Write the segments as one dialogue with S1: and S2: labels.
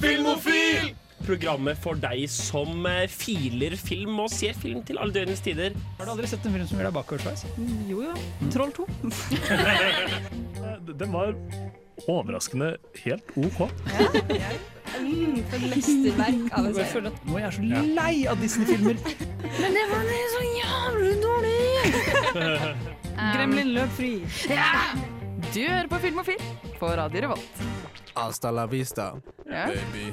S1: Filmofil!
S2: Programmet for deg som eh, filer film og ser film til alle døgnets tider.
S3: Har du aldri sett en film som gjør deg bakoversveis?
S4: Jo jo. Troll 2.
S1: Eh, Den var overraskende helt OK.
S4: Mm, for mesterverk av en
S3: Jeg
S4: serie.
S3: føler at nå er jeg så lei av Disney-filmer.
S5: Men det var det så jævlig dårlig!
S4: Gremlin løp fri.
S5: Du hører på Filmofil på Radio Revolt.
S6: Hasta la vista,
S5: Ja.
S6: baby.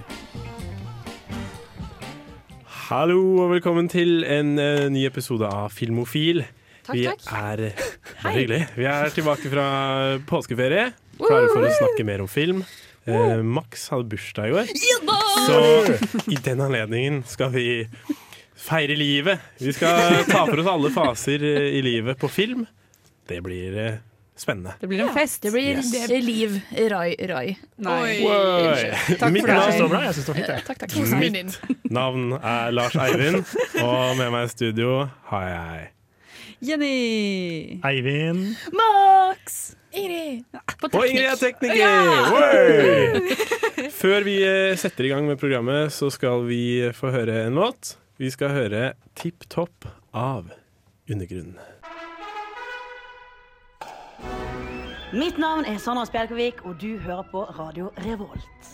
S7: Hallo og velkommen til en eh, ny episode av Filmofil.
S4: Takk,
S7: vi
S4: takk.
S7: er Bare hyggelig. Vi er tilbake fra påskeferie. Klare for å snakke mer om film. Eh, Max hadde bursdag i går, så i den anledningen skal vi feire livet. Vi skal ta for oss alle faser eh, i livet på film. Det blir eh, spennende.
S4: Det blir en fest.
S5: Det blir
S7: Yes.
S5: det- liv. Rai, rai.
S4: Nei.
S7: Oi. Mitt
S1: Jeg syns det
S7: navn,
S1: var bra. Jeg syns det var fint, jeg.
S5: Takk, takk.
S7: mitt navn er Lars Eivind, og med meg i studio har jeg
S4: Jenny!
S1: Eivind.
S5: Max! Ingrid. På
S7: Og Ingrid er tekniker! Oi! Før vi eh, setter i gang med programmet, så skal vi eh, få høre en låt. Vi skal høre Tipp Topp av Undergrunnen.
S8: Mitt navn er Sandra Spjelkavik, og du hører på Radio Revolt.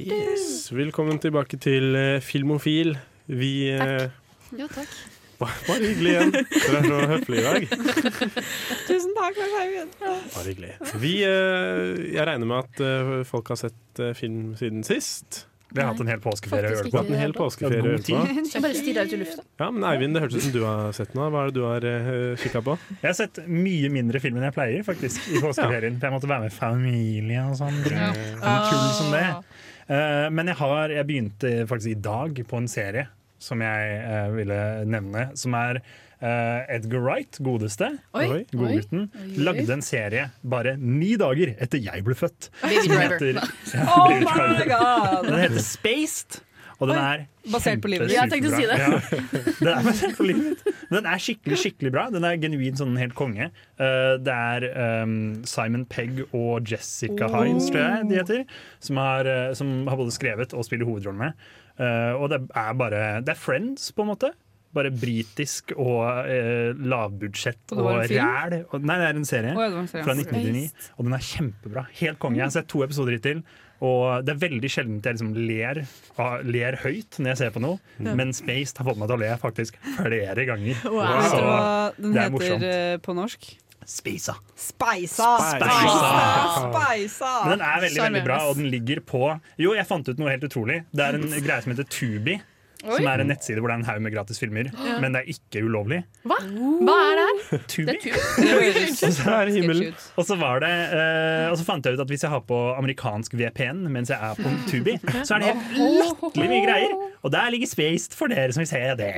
S7: Yes. Velkommen tilbake til eh, Filmofil. Vi eh,
S5: Jo, takk.
S7: Bare bare hyggelig igjen. Dere er så høflige i dag.
S4: Tusen takk, Lars Haugen.
S7: Bare hyggelig. Vi, eh, jeg regner med at eh, folk har sett eh, film siden sist.
S1: Vi har hatt en hel påskeferie å
S5: Faktisk
S7: Du
S1: gjøre
S7: har
S1: på.
S7: hatt en hel
S1: Det
S7: påskeferie
S1: er god
S7: å høre på.
S5: Jeg bare stirra ut i lufta.
S7: Ja, men Eivind, det høres ut som du har sett noe. Hva er det du har uh, kikka på?
S1: Jeg har sett mye mindre film enn jeg pleier faktisk i påskeferien. For jeg måtte være med familie og sånn.
S5: Ja.
S1: Sånn Tull som det. Eh, Men jeg, har, jeg begynte faktisk i dag på en serie som jeg eh, ville nevne, som er eh, Edgar Wright, godeste.
S7: Oi.
S1: Godgutten. Lagde en serie bare ni dager etter jeg ble født.
S5: Baby
S1: Den
S5: driver.
S1: heter, ja,
S4: Oh
S1: Baby
S4: my
S1: Driver.
S4: god!
S1: den heter Spaced. Og den er
S4: Basert på livet ditt.
S5: Ja, jeg tenkte å si det.
S1: kjempesuperbra. Ja. Den er basert på livet ditt. Den er skikkelig skikkelig bra. Den er genuin sånn helt konge. Eh, Det er ehm, Simon Pegg og Jessica
S4: Oh.
S1: Hines, tror jeg de heter, som har, eh, som har både skrevet og spiller hovedrollen med. Eh, Og det er bare Det er Friends, på en måte. Bare britisk og eh, lavbudsjett og
S4: Og det var en film?
S1: ræl. Og- Nei, det er en serie
S4: Oi, det var en serie.
S1: fra 1999. Og den er kjempebra. Helt konge. Jeg har sett to episoder hittil. Og det er veldig sjelden at jeg liksom ler, av- ler høyt når jeg ser på noe, men Spaced har fått meg til å le faktisk flere ganger.
S4: Vet dere
S1: Så
S4: hva
S1: Det
S4: den
S1: er
S4: heter
S1: morsomt.
S4: eh, på norsk?
S1: Spisa.
S4: Speisa!
S1: Speisa.
S4: Speisa!
S1: Men den er veldig veldig
S5: Sjarmerende.
S1: bra, og den ligger på Jo, jeg fant ut noe helt utrolig. Det er en greie som heter Tubi. Som er en nettside hvor det er en haug med gratis filmer, men det er ikke ulovlig.
S5: Hva? Hva er det her?
S1: Tubi.
S4: Unnskyld.
S7: Her i himmelen.
S1: Og så, var det, eh, og så fant jeg ut at hvis jeg har på amerikansk VPN mens jeg er på Tubi, så er det helt latterlig mye greier. Og der ligger Spaced for dere som vil se det.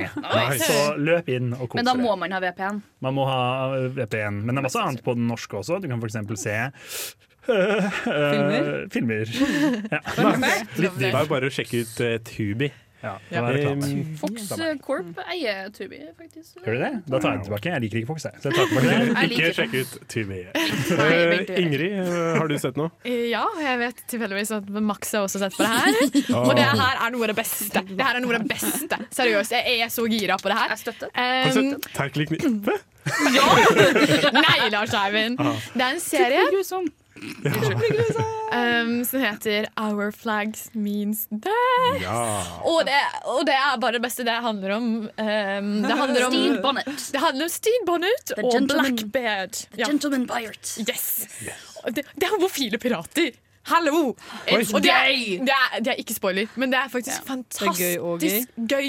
S1: Så løp inn og kos
S5: Men da må
S1: dere.
S5: man ha VPN.
S1: Man må ha eh, VPN. Men det er masse annet på den norske også. Du kan f.eks. se eh, eh, filmer.
S7: Litt digg. Det er jo bare å sjekke ut eh, Tubi.
S1: Ja, det var reklame.
S7: Um,
S5: Fox eh, Corp eier Tubi, faktisk.
S1: Gjør du det? Da tar jeg den tilbake. Jeg liker ikke Fox, jeg. Så jeg tar tilbake det.
S5: Jeg
S7: Ikke
S5: liker
S7: sjekk ut Tubi.
S5: Nei, vent,
S7: Eh, Ingrid, eh, har du sett noe?
S9: Ja, jeg vet tilfeldigvis at Max har også sett på det her. Og
S7: Ah.
S9: det her er noe av det beste. Det her er noe av det beste. Seriøst, jeg er så gira på det her.
S5: Jeg støtter.
S7: Har du
S9: Um,
S7: sett Terkelknippe?
S9: ja! Nei, Lars Eivind.
S7: Ah.
S9: Det er en serie um, som heter Our flags means death.
S7: Ja.
S9: Og det, og det er bare det beste det handler om. Um, det handler om
S5: Steve Bonnet.
S9: det handler om Steve Bonnet
S5: The
S9: og
S5: Gentleman.
S9: Blackbeard. Ja.
S5: Gentleman Byert.
S9: Yes! Og Det, det er homofile pirater. Hallo!
S5: It's
S9: det, er,
S5: gay!
S9: det, er, det er ikke spoiler, men det er faktisk fantastisk
S4: gøy og gøy.
S9: gøy.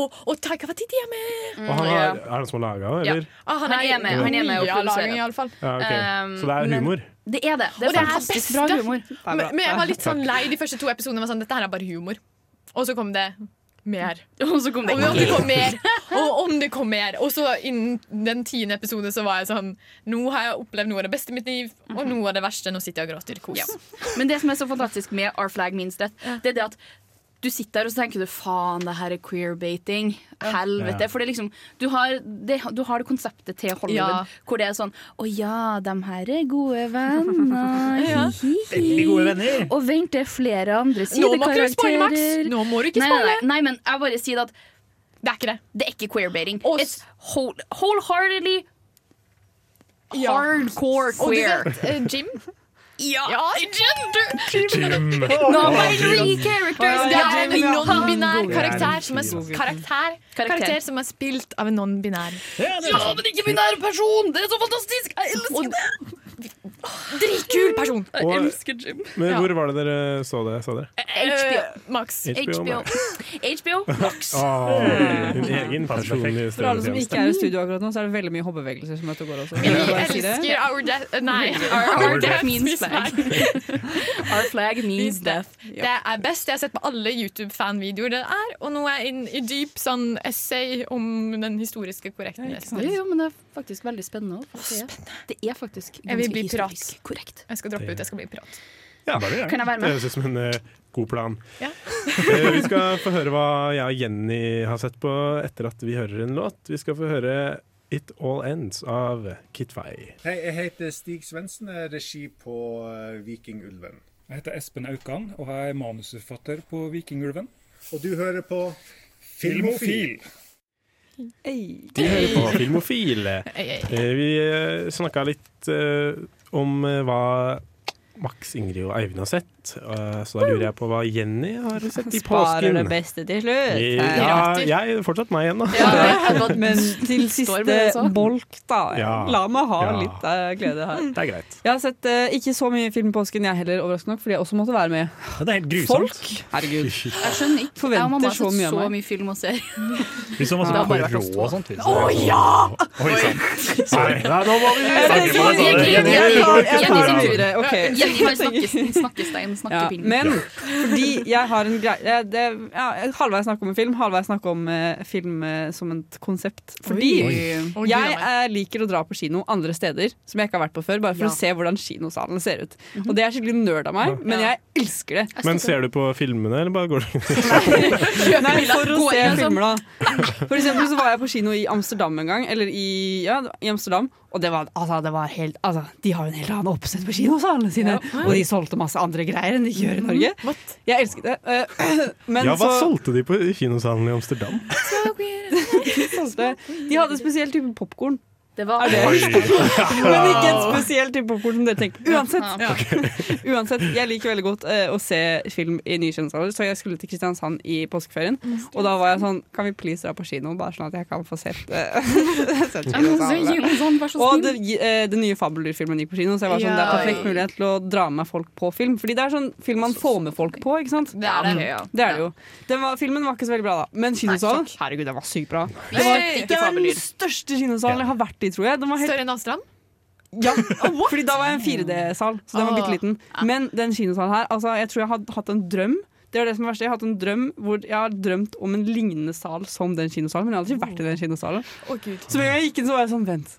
S9: Og, og Taika Waititi er med!
S7: Og han
S5: ja.
S7: har, er det han som har laga det,
S9: Ja.
S7: eller?
S9: Ah,
S5: Han er med, han er med og
S9: mye av
S5: produserer.
S9: laget, i alle fall.
S7: Ja, ok. Så
S5: Um,
S7: det er
S5: men-
S7: humor?
S5: Det er det. Det
S9: Og
S5: er
S9: det er
S5: fantastisk
S9: beste.
S5: bra humor.
S4: er bra.
S9: Men, men jeg var litt sånn lei de første to episodene. Jeg Var sånn, Dette her er bare humor. Og så kom det mer.
S5: Og så kom det
S9: Og om det kom mer, og om det kom mer. Og så innen den tiende episoden så var jeg sånn Nå har jeg opplevd noe av det beste i mitt liv, og noe av det verste. Nå sitter jeg og gråter. Kos.
S5: Ja. Men det som er så fantastisk med Our Flag Means Death, det er det at
S10: du sitter der og så tenker du faen, det her er queerbating. Helvete.
S1: Ja.
S10: For det er liksom du har det, du har det konseptet til Hollywood
S9: Ja.
S10: hvor det er sånn Å ja, de her er gode venner. Hi, hi, hi.
S1: Veldig gode venner.
S10: Og vent, det er flere andre
S9: Nå må ikke du spoile, Max!
S10: sidekarakterer.
S9: Nå må du ikke
S10: Nei, nei,
S9: spoile!
S10: nei, nei, men jeg bare sier det at
S9: Det er ikke det.
S10: det er ikke queerbaiting.
S9: Og
S10: It's whole, wholeheartedly
S9: Ja.
S10: hardcore
S9: Og du
S10: queer.
S9: vet, eh, Jim
S10: Ja.
S9: Ja, gender!
S7: Jim.
S10: No binary characters.
S9: Det er en non-binær
S1: God.
S9: karakter som er,
S1: God.
S9: karakter, karakter som er spilt av en non-binær.
S1: Ja, det er sant.
S10: men ikke binær person! Det er så fantastisk! Jeg elsker det!
S9: Dritkul person!
S7: Og-
S10: Jim.
S7: Men
S9: Ja.
S7: hvor var det dere så det? Så dere?
S10: HBO.
S9: Max.
S10: HBO.
S7: Max.
S10: HBO Max.
S7: Hun egen
S1: Perfekt.
S7: personlig
S4: For alle som
S7: strømmetjeneste.
S4: ikke er i studio akkurat nå, så er det veldig mye hoppebevegelser som er ute og går også.
S9: Vi
S4: Kan jeg bare si det?
S9: elsker Our Death eh, Nei. Our,
S10: Our
S9: death
S10: death means flag. Our flag means death.
S9: Det er best jeg har sett på alle YouTube-fanvideoer det er, og nå er jeg inn i dyp sånn essay om den historiske korrektnessen.
S10: Jo, jo, men det er faktisk veldig spennende. også, for å si Det Det er faktisk
S9: Jeg vil bli
S10: ganske
S9: pirat.
S10: historisk korrekt.
S9: Jeg skal droppe ut, jeg skal bli pirat.
S7: Ja,
S10: Kan jeg være
S7: Det
S10: med?
S7: høres ut som en eh, god plan.
S9: Ja.
S7: Eh, vi skal få høre hva jeg og Jenny har sett på etter at vi hører en låt. Vi skal få høre It All Ends av Kitway.
S11: Hei, jeg heter Stig Svendsen, jeg er regi på eh, Vikingulven.
S3: Jeg heter Espen Aukan og jeg er manusforfatter på Vikingulven.
S11: Og du hører på
S3: Filmofil.
S4: Ei.
S7: De hører på Filmofile.
S9: Ei, ei.
S7: Eh, vi eh, snakka litt eh, om eh, hva Max, Ingrid og Eivind har sett. Eh, så da lurer jeg på hva Jenny har sett i
S4: Sparer det
S7: påsken.
S4: beste til slutt.
S7: Eh, Ja, jeg fortsatt meg igjen, da.
S4: Men til
S9: Står med det,
S4: siste
S9: så.
S4: bolk, da.
S7: Ja.
S4: La meg ha
S7: Ja.
S4: litt eh, glede her.
S7: Det er greit.
S4: Jeg har sett eh, ikke så mye film i påsken, jeg heller, overraskende nok, fordi jeg også måtte være med.
S1: Ja, det er helt grusomt.
S4: Herregud.
S10: Jeg skjønner ikke.
S4: Forventer
S10: jeg og mamma har
S4: så
S10: sett
S4: mye av
S10: så
S4: meg.
S10: mye film og serier.
S1: Vi så masse
S10: Det har bare vært
S1: Poirot
S10: oss to.
S1: og sånt. Å ja! Oi sann. Nei, nei, nå må vi snakke på det.
S10: Jenny,
S1: Jenny,
S10: Jenny,
S1: Jenny, Jenny,
S10: Jenny, Jenny,
S1: Jenny, Jenny.
S4: Videre, ok.
S10: Jenny bare snakker, snakker stein, snakker
S4: Ja,
S10: film.
S4: men fordi jeg har en greie jeg- det, ja, Halvveis snakk om en film, halvveis snakk om eh, film eh, som et konsept. Fordi
S9: Oi,
S4: jeg
S9: gud a
S4: eh, liker å dra på kino andre steder som jeg ikke har vært på før, bare for
S10: Ja.
S4: å se hvordan kinosalene ser ut.
S9: Mhm.
S4: Og det er skikkelig nerd av meg, men
S10: Ja.
S4: jeg elsker det.
S10: Jeg
S7: Men
S10: støtter.
S7: ser du på filmene, eller bare går du
S4: Nei, for å liksom.
S10: Gå
S4: se
S10: inn og sånn.
S4: filmer, da. For eksempel så var jeg på kino i Amsterdam en gang, eller i, ja, i Amsterdam. Og det var, altså, det var helt altså, De har jo en helt annen oppsett på kinosalene sine. Og de solgte masse andre greier enn de gjør i Norge. Jeg elsket det. eh, Men
S7: Ja, hva
S4: så
S7: solgte de på kinosalen i Amsterdam?
S4: solgte De hadde spesiell type popkorn.
S10: Det var
S4: Men ikke en spesiell type popkorn som dere tenker. Uansett, uansett jeg liker veldig godt eh, å se film i nye kjønnsalder, så jeg skulle til Kristiansand i påskeferien. Og da var jeg sånn Kan vi please dra på kino, bare sånn at jeg kan få sett eh, sett
S10: Ja, men så
S4: kinosalene?»
S10: Jonas, han var så
S4: Og
S10: snill.
S4: det, eh, den nye Fabeldyrfilmen gikk på kino, så jeg var sånn,
S9: Ja.
S4: det er perfekt mulighet til å dra med folk på film. Fordi det er sånn film man får med folk på, ikke sant?
S9: Det er det.
S4: Det er det jo. Den var, filmen var ikke så veldig bra, da. Men kinosalen Herregud, den var sykt bra. Det var,
S9: Nei, ikke
S4: det var den største kinosalen jeg har vært i, tror jeg. Den var helt,
S9: Større enn Astrand?
S4: ja. Fordi da var jeg en 4D-sal, så den var bitte liten. Men den kinosalen her, altså, jeg tror jeg hadde hatt en drøm. Det er det som er verst. Jeg har hatt en drøm hvor jeg har drømt om en lignende sal som den kinosalen, men jeg har aldri vært i den kinosalen.
S9: Å, gud.
S4: Så med en gang jeg gikk inn, så var jeg sånn Vent.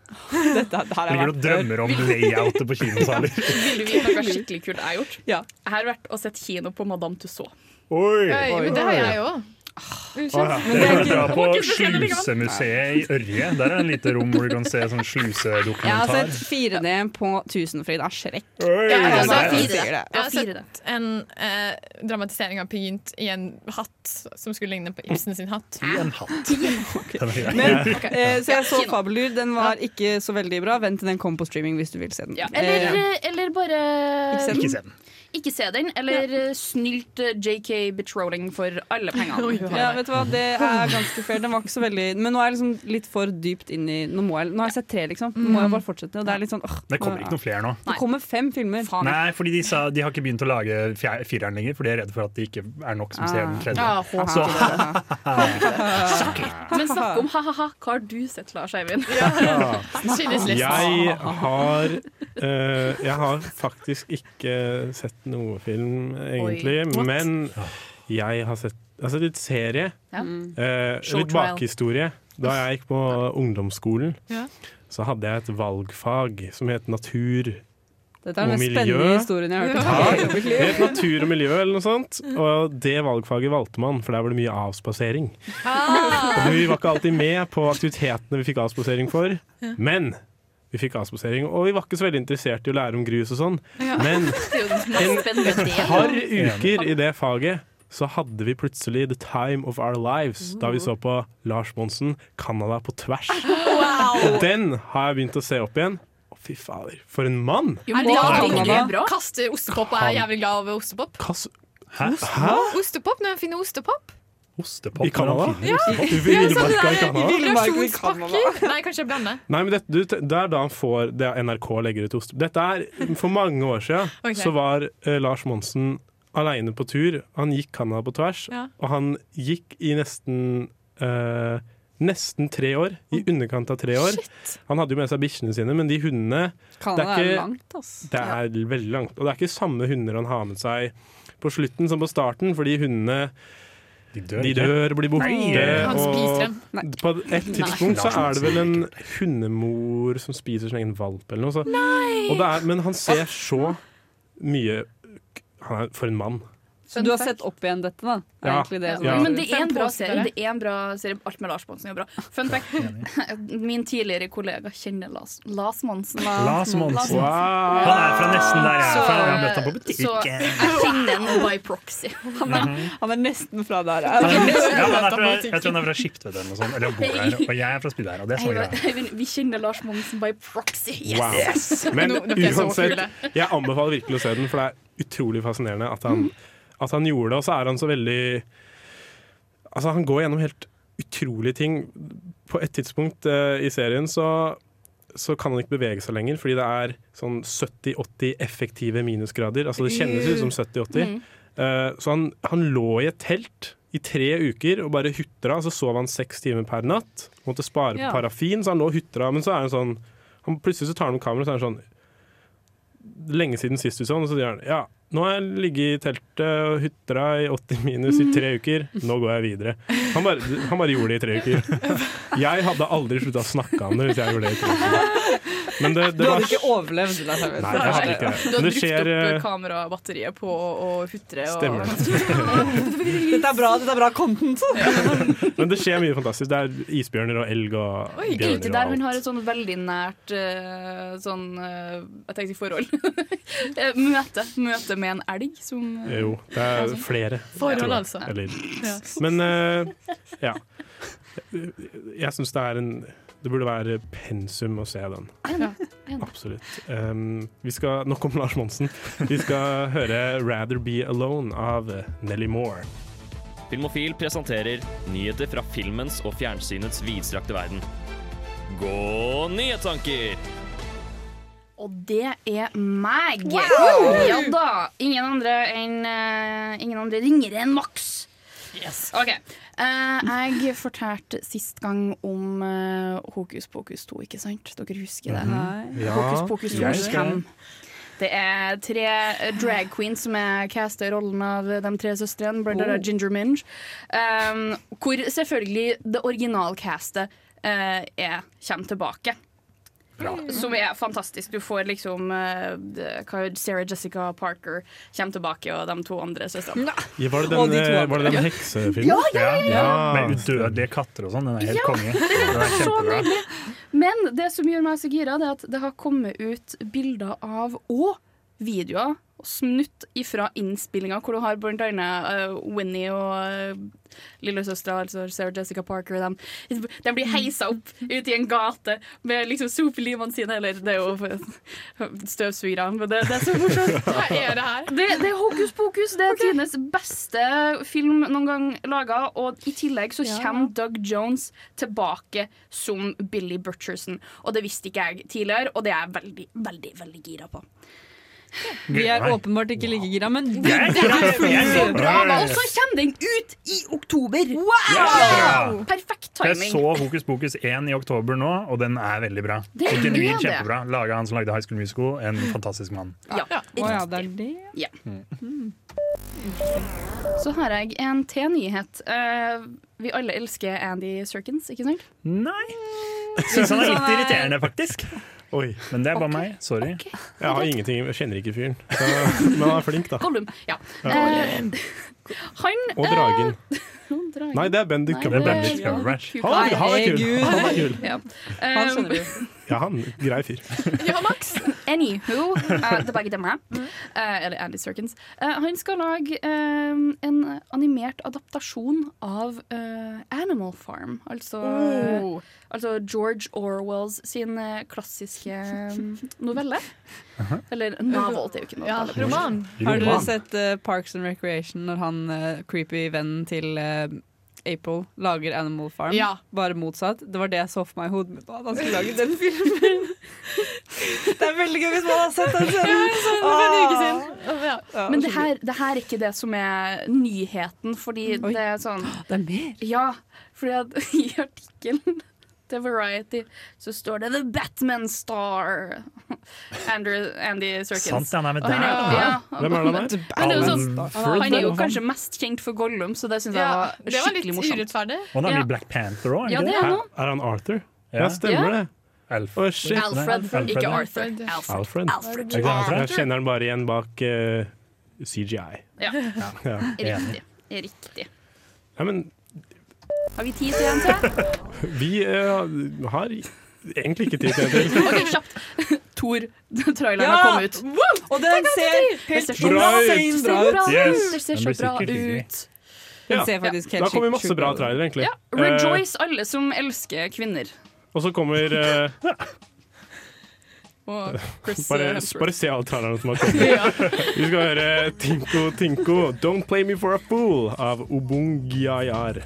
S4: Dette her har jeg
S1: Ligger du og
S4: vært før.
S1: drømmer om layoutet på kinosaler?
S10: Ville vite noe skikkelig kult jeg har gjort?
S4: Ja.
S10: Jeg har vært og sett kino på Madame Tussauds.
S1: Oi!
S9: Oi, Ah, men det har jeg òg.
S1: Å, ja.
S4: Men det er
S1: Dere
S4: ikke-
S1: drar på
S10: Må ikke se det likevel.
S1: Slusemuseet i Ørje. Der er det en lite rom hvor du kan se sånn
S4: Jeg
S10: altså,
S4: har
S1: slusedokumentar.
S4: sett 4D på Tusenfryd av Shrek.
S1: Oi,
S9: Jeg har
S10: altså,
S1: nei,
S9: sett
S1: nei.
S4: fire.
S9: Jeg har
S10: fire,
S9: sett en eh, dramatisering av Peer Gynt i en hatt som skulle ligne på Ibsen sin hatt.
S1: I en hatt. Den er grei.
S4: Men, eh, så jeg så
S10: Kino.
S4: Fabeldyr. Den var ikke så veldig bra. Vent til den kommer på streaming hvis du vil se den.
S10: Ja. Eller,
S4: Eh,
S10: eller bare
S4: Ikke se
S1: Ikke se den.
S10: Ikke se den. Eller snylt eh, JK Betrolling for alle pengene hun
S4: ja,
S10: har.
S4: vet du hva, det er ganske fair. Den var ikke så veldig Men nå er jeg liksom litt for dypt inn i Nå, må jeg, nå har jeg sett tre, liksom. Nå må jeg bare fortsette. Og det er litt sånn åh,
S1: Det kommer ikke noen flere nå.
S4: Det kommer fem filmer.
S10: Faen.
S1: Nei, fordi de, sa, de har ikke begynt å lage fjer- fireren lenger, for de er redde for at det ikke er nok som ser den tredje.
S10: Ah. Ja, håper
S7: altså.
S1: Så-
S10: ikke det. Men snakk om ha-ha-ha, hva har du sett, Lars Eivind?
S9: Skyldes litt.
S7: Jeg har eh, Jeg har faktisk ikke sett noe film, egentlig.
S9: what?
S7: Men jeg har sett, jeg har sett litt serie.
S10: Ja.
S7: Eh,
S10: Show
S7: litt
S10: trial.
S7: bakhistorie. Da jeg gikk på ungdomsskolen,
S9: Ja.
S7: så hadde jeg et valgfag som het natur
S4: Dette er den
S7: Og
S4: mest
S7: miljø.
S4: spennende historien jeg har hørt. i hele mitt
S7: Ja.
S4: liv.
S7: Helt natur og miljø eller noe sånt. Og det valgfaget valgte man, for der var det mye avspasering. Og vi var ikke alltid med på aktivitetene vi fikk avspasering for, men vi fikk avspasering. Og vi var ikke så veldig interessert i å lære om grus og sånn,
S10: Ja.
S7: men
S10: Det er jo den mest
S7: en,
S10: spennende
S7: et
S10: delen.
S7: par uker i det faget så hadde vi plutselig the time of our lives da vi så på Lars Monsen, Canada på tvers. Og den har jeg begynt å se opp igjen. Å, fy fader, for en mann!
S9: Er det da
S7: Herregud.
S9: drikker du? Kaster ostepop og er jævlig glad over ostepop?
S7: Hva s- Hæ?
S9: Ostepop, Når en finner ostepop?
S7: I Canada?
S9: Ja,
S7: I Villmarka i
S9: sånn
S7: Canada?
S9: Relasjonspakker? Nei, kanskje jeg blander.
S7: Nei, men dette, du, det er da han får det NRK legger ut ost. Dette er For mange år siden
S9: Ok.
S7: så var eh, Lars Monsen aleine på tur. Han gikk Canada på tvers,
S9: Ja.
S7: og han gikk i nesten eh, Nesten tre år. I underkant av tre år. Han hadde jo med seg bikkjene sine, men de hundene
S4: Canada er langt, altså. ass.
S7: det er veldig langt. Og det er ikke samme hunder han har med seg på slutten som på starten, fordi hundene de
S1: dør
S7: de
S1: ikke.
S7: dør blir borte.
S1: Nei. Han spiser dem. Nei.
S7: Og på et tidspunkt så
S1: Nei.
S7: er det vel en hundemor som spiser sin egen valp eller noe. Så.
S4: Nei.
S7: Og det er, men han ser så mye Han er for en mann.
S4: Så du har sett opp igjen dette, da? Er
S7: Ja.
S4: egentlig det som
S7: Ja.
S4: er-
S10: Men det er en bra serie.
S4: Det
S10: Det er en bra serie. Alt med Lars Monsen er bra. Fun fact. Min tidligere kollega kjenner Lars, Lars Monsen.
S1: Lars Monsen.
S10: Monsen.
S1: Han er fra nesten der jeg er fra. Jeg har møtt ham på
S10: Så
S1: butikken.
S10: jeg kjenner ham by proxy.
S4: Han er nesten fra der.
S1: Ja, han er fra, jeg
S10: Jeg
S1: tror han er fra Skiptvet eller noe sånt. Eller han bor der. Og jeg er fra Spydeberg, og det er samme
S10: vet-
S1: greia.
S10: jeg vet- Vi kjenner Lars Monsen by proxy. Yes!
S7: Wow. Men uansett, jeg anbefaler virkelig å se den, for det er utrolig fascinerende at han, at han gjorde det. Og så er han så veldig Altså, han går gjennom helt utrolige ting. På et tidspunkt eh, i serien så så kan han ikke bevege seg lenger, fordi det er sånn 70-80 effektive minusgrader. Altså Det kjennes ut som 70-80.
S1: Mm.
S7: Eh, så han, han lå i et telt i tre uker og bare hutra. Så sov han seks timer per natt. Måtte spare
S1: Ja.
S7: på parafin, så han lå og hutra. Men så er han sånn han, Plutselig så tar han opp kameraet, så er han sånn Lenge siden sist du så han, og så sier han ja. Nå har jeg ligget i teltet og hutra i 80 minus i tre uker. Nå går jeg videre. Han bare, han bare gjorde det i tre uker. Jeg hadde aldri slutta å snakke om det hvis jeg gjorde det i tre uker. Men det,
S4: Du
S7: det
S4: hadde
S7: var
S4: ikke overlevd. Lars Arve.
S7: Nei, jeg hadde ikke det.
S10: Du har
S7: Men det
S10: brukt
S7: skjer
S10: opp
S7: eh,
S10: kamerabatteriet på å å hutre. og-
S7: Stemmer det.
S4: Dette er bra, dette er bra content.
S7: Men det skjer mye fantastisk. Det er isbjørner og elg og
S10: Oi, Gate
S7: bjørner
S10: der
S7: og
S10: hun
S7: alt.
S10: har et sånn veldig nært eh, sånn eh, Jeg tenkte forhold. Eh, møte. Møte med en elg som eh,
S7: Jo, det
S10: Ja,
S7: er
S10: sånn.
S7: flere.
S10: Forhold,
S7: tror jeg.
S10: altså.
S7: Eller.
S10: Ja.
S7: Men eh, ja. Jeg syns det er en Det burde være pensum å se den. Absolutt. Um, vi skal, nok om Lars Monsen. Vi skal høre 'Rather Be Alone' av Nelly Moore.
S12: Filmofil presenterer nyheter fra filmens og fjernsynets vidstrakte verden. Gå nyhetstanker!
S10: Og det er meg!
S12: Wow!
S10: Ja da! Ingen andre enn eh, Ingen andre ringere enn Max. OK. Eh, jeg fortalte sist gang om eh, Hokus pokus 2, ikke sant? Dere husker det?
S7: Mm.
S8: Mhm. Ja,
S10: Hokus pokus 2
S8: jeg husker
S10: kommer.
S8: det.
S10: Det er tre eh, drag queens som er castet i rollen av de tre søstrene, Brenda
S8: Oh.
S10: og Ginger Minge. Um, hvor selvfølgelig det originalcastet uh, er, kommer tilbake. Som er fantastisk. Du får liksom eh, det- hva er Sarah Jessica Parker kommer tilbake, og de to andre søstrene.
S7: Ja, var det
S1: Og
S7: den,
S1: de to
S7: eh, var det den
S1: andre.
S7: heksefilmen?
S10: Ja, ja, ja, ja, ja.
S1: Med udødelige katter og sånn. Den er helt
S10: Ja,
S1: konge.
S10: det er
S1: Den er
S10: så
S1: kjempebra.
S10: nydelig. Men det som gjør meg så gira, det er at det har kommet ut bilder av og videoer og snutt ifra innspillinga, hvor du har blant annet eh, Winnie og uh, lillesøstera, altså Sarah Jessica Parker, og dem. De blir heisa opp ut i en gate med liksom sopelivene sine, eller det er jo for- støvsugere, men det, det er så morsomt.
S9: Hva er det her?
S10: Det, det er hokus pokus. Det er tidenes beste film noen gang laga. Og i tillegg så
S9: Ja.
S10: kommer Doug Jones tilbake som Billy Butcherson. Og det visste ikke jeg tidligere, og det er jeg veldig, veldig veldig gira på.
S4: Vi er åpenbart ikke like gira, men
S10: Det er så bra, da. Og
S1: Yes.
S10: så kommer den ut i oktober!
S1: Ja.
S10: Perfekt
S1: For Jeg
S10: timing.
S1: så Hokus pokus 1 i oktober nå, og den er veldig bra.
S10: Det
S1: Og genuint
S10: er det.
S1: kjempebra. Laga han som lagde High School Musical, en fantastisk mann.
S10: Ja. Mm.
S4: Riktig.
S10: Ja. Så har jeg en til nyhet. Eh, vi alle elsker Andy Serkins, ikke sant? Sånn
S1: Nei. Syns han er litt irriterende, faktisk. Men det er bare meg. Sorry.
S7: Jeg har ingenting, jeg kjenner ikke fyren. Så, men han er flink, da.
S10: Gollum. Ja. Eh,
S7: Gollum.
S10: han
S7: Og dragen.
S10: Og dragen.
S7: Nei, det er Bendik
S10: Eh, Nei,
S7: Cumberbatch.
S10: det er-
S7: Cumberbatch. Han er- han er kul.
S10: Herregud.
S7: Han er kul.
S10: Ja.
S7: Han
S4: Um,
S7: skjønner
S10: Eh,
S7: Ja, han grei fyr.
S10: Ja, Max. Anywho, eh, tilbake til meg. Eh, eller Andy Serkins. Eh, han skal lage eh, en animert adaptasjon av eh, Animal Farm. Altså,
S9: Oh.
S10: altså George Orwells sin eh, klassiske eh, novelle. Eller novel, det er jo ikke noe.
S9: Ja,
S10: novelle.
S9: roman.
S4: Har dere sett eh, Parks and Recreation når han eh, creepy vennen til eh, April lager Animal Farm?
S9: Ja.
S4: Bare motsatt. Det var det jeg så for meg i hodet mitt. da, At han skulle lage den filmen. det er veldig gøy hvis man har sett den
S9: Ja,
S4: scenen.
S9: jeg så den for en uke siden. Ja.
S10: Men det her, det her er ikke det som er nyheten, fordi det er sånn
S4: Ah. Det er mer?
S10: Ja, fordi at i artikkelen til Variety så står det 'The Batman Star'. Andrew, Andy Serkins.
S1: Sant, han er med
S10: Og
S1: der,
S10: jo-
S1: da.
S10: ja,
S1: Hvem er det han er?
S10: Men det er jo sånn,
S1: Alan Ford,
S10: han er jo
S1: eller noe
S10: kanskje mest kjent for Gollum, så det syns jeg
S9: Ja,
S10: var
S9: det var litt
S10: skikkelig morsomt.
S9: urettferdig.
S1: sånn. Og han er
S10: Ja.
S1: med i Black Panther òg,
S10: Ja, det er han også.
S7: Er han Arthur? Ja, stemmer
S10: Ja.
S7: det. Å, shit.
S10: Alfred,
S7: Nei,
S10: ikke
S7: ja.
S10: Arthur. Alfred.
S7: Alfred.
S10: Alfred.
S7: Jeg, jeg
S10: Alfred.
S7: kjenner han bare igjen bak eh, CGI.
S10: Ja.
S7: Ja.
S10: Riktig. Riktig.
S7: Ja, men
S10: Har vi tid igjen til?
S7: vi eh, har egentlig ikke tid til det.
S10: OK, kjapt. Tor, traileren
S4: Ja!
S10: har kommet ut.
S4: Og den ser helt
S10: Det ser så
S7: bra ut.
S4: insane bra
S10: Det ser
S4: ut.
S10: bra ut.
S7: Yes.
S10: Det ser
S7: Den blir
S10: så bra
S7: sikkert hyggelig.
S10: ut.
S7: Ja.
S4: Den ser faktisk
S7: Da
S4: helt
S7: kommer
S4: sjukt-
S7: masse bra trailere, egentlig. Eh,
S10: Rejoice, alle som elsker kvinner.
S7: og så kommer eh,
S10: Og Chris
S4: eh,
S7: bare,
S10: Hemsworth.
S7: bare se alle trailerne som har kommet. Vi skal høre Tinko Tinko, 'Don't Play Me For A Fool' av Obungiayar.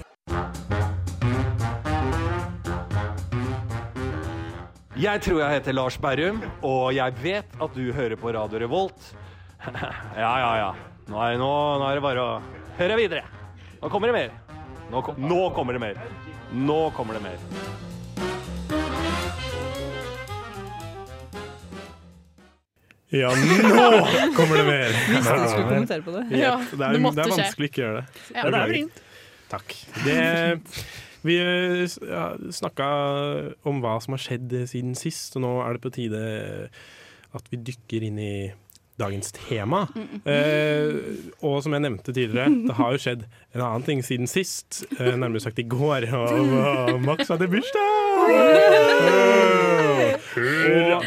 S13: Jeg tror jeg heter Lars Berrum, og jeg vet at du hører på Radio Revolt. Ja, ja, ja. Nå er, nå, nå er det bare å høre videre. Nå kommer det mer. Nå, kom, nå kommer det mer. Nå kommer det mer.
S7: Ja, nå kommer det mer!
S4: Hvis du skulle kommentere på det.
S7: Ja,
S4: Ja,
S7: det, er,
S4: det måtte
S7: det er
S4: skje.
S7: vanskelig ikke å gjøre det.
S4: Ja, det er
S7: Beklager.
S4: vrient.
S7: Takk. Det, vi eh, s- ja, snakka om hva som har skjedd eh, siden sist, og nå er det på tide at vi dykker inn i dagens tema. Eh, og som jeg nevnte tidligere, det har jo skjedd en annen ting siden sist. Eh, nærmere sagt i går. Og, og Max hadde bursdag! Eh, Og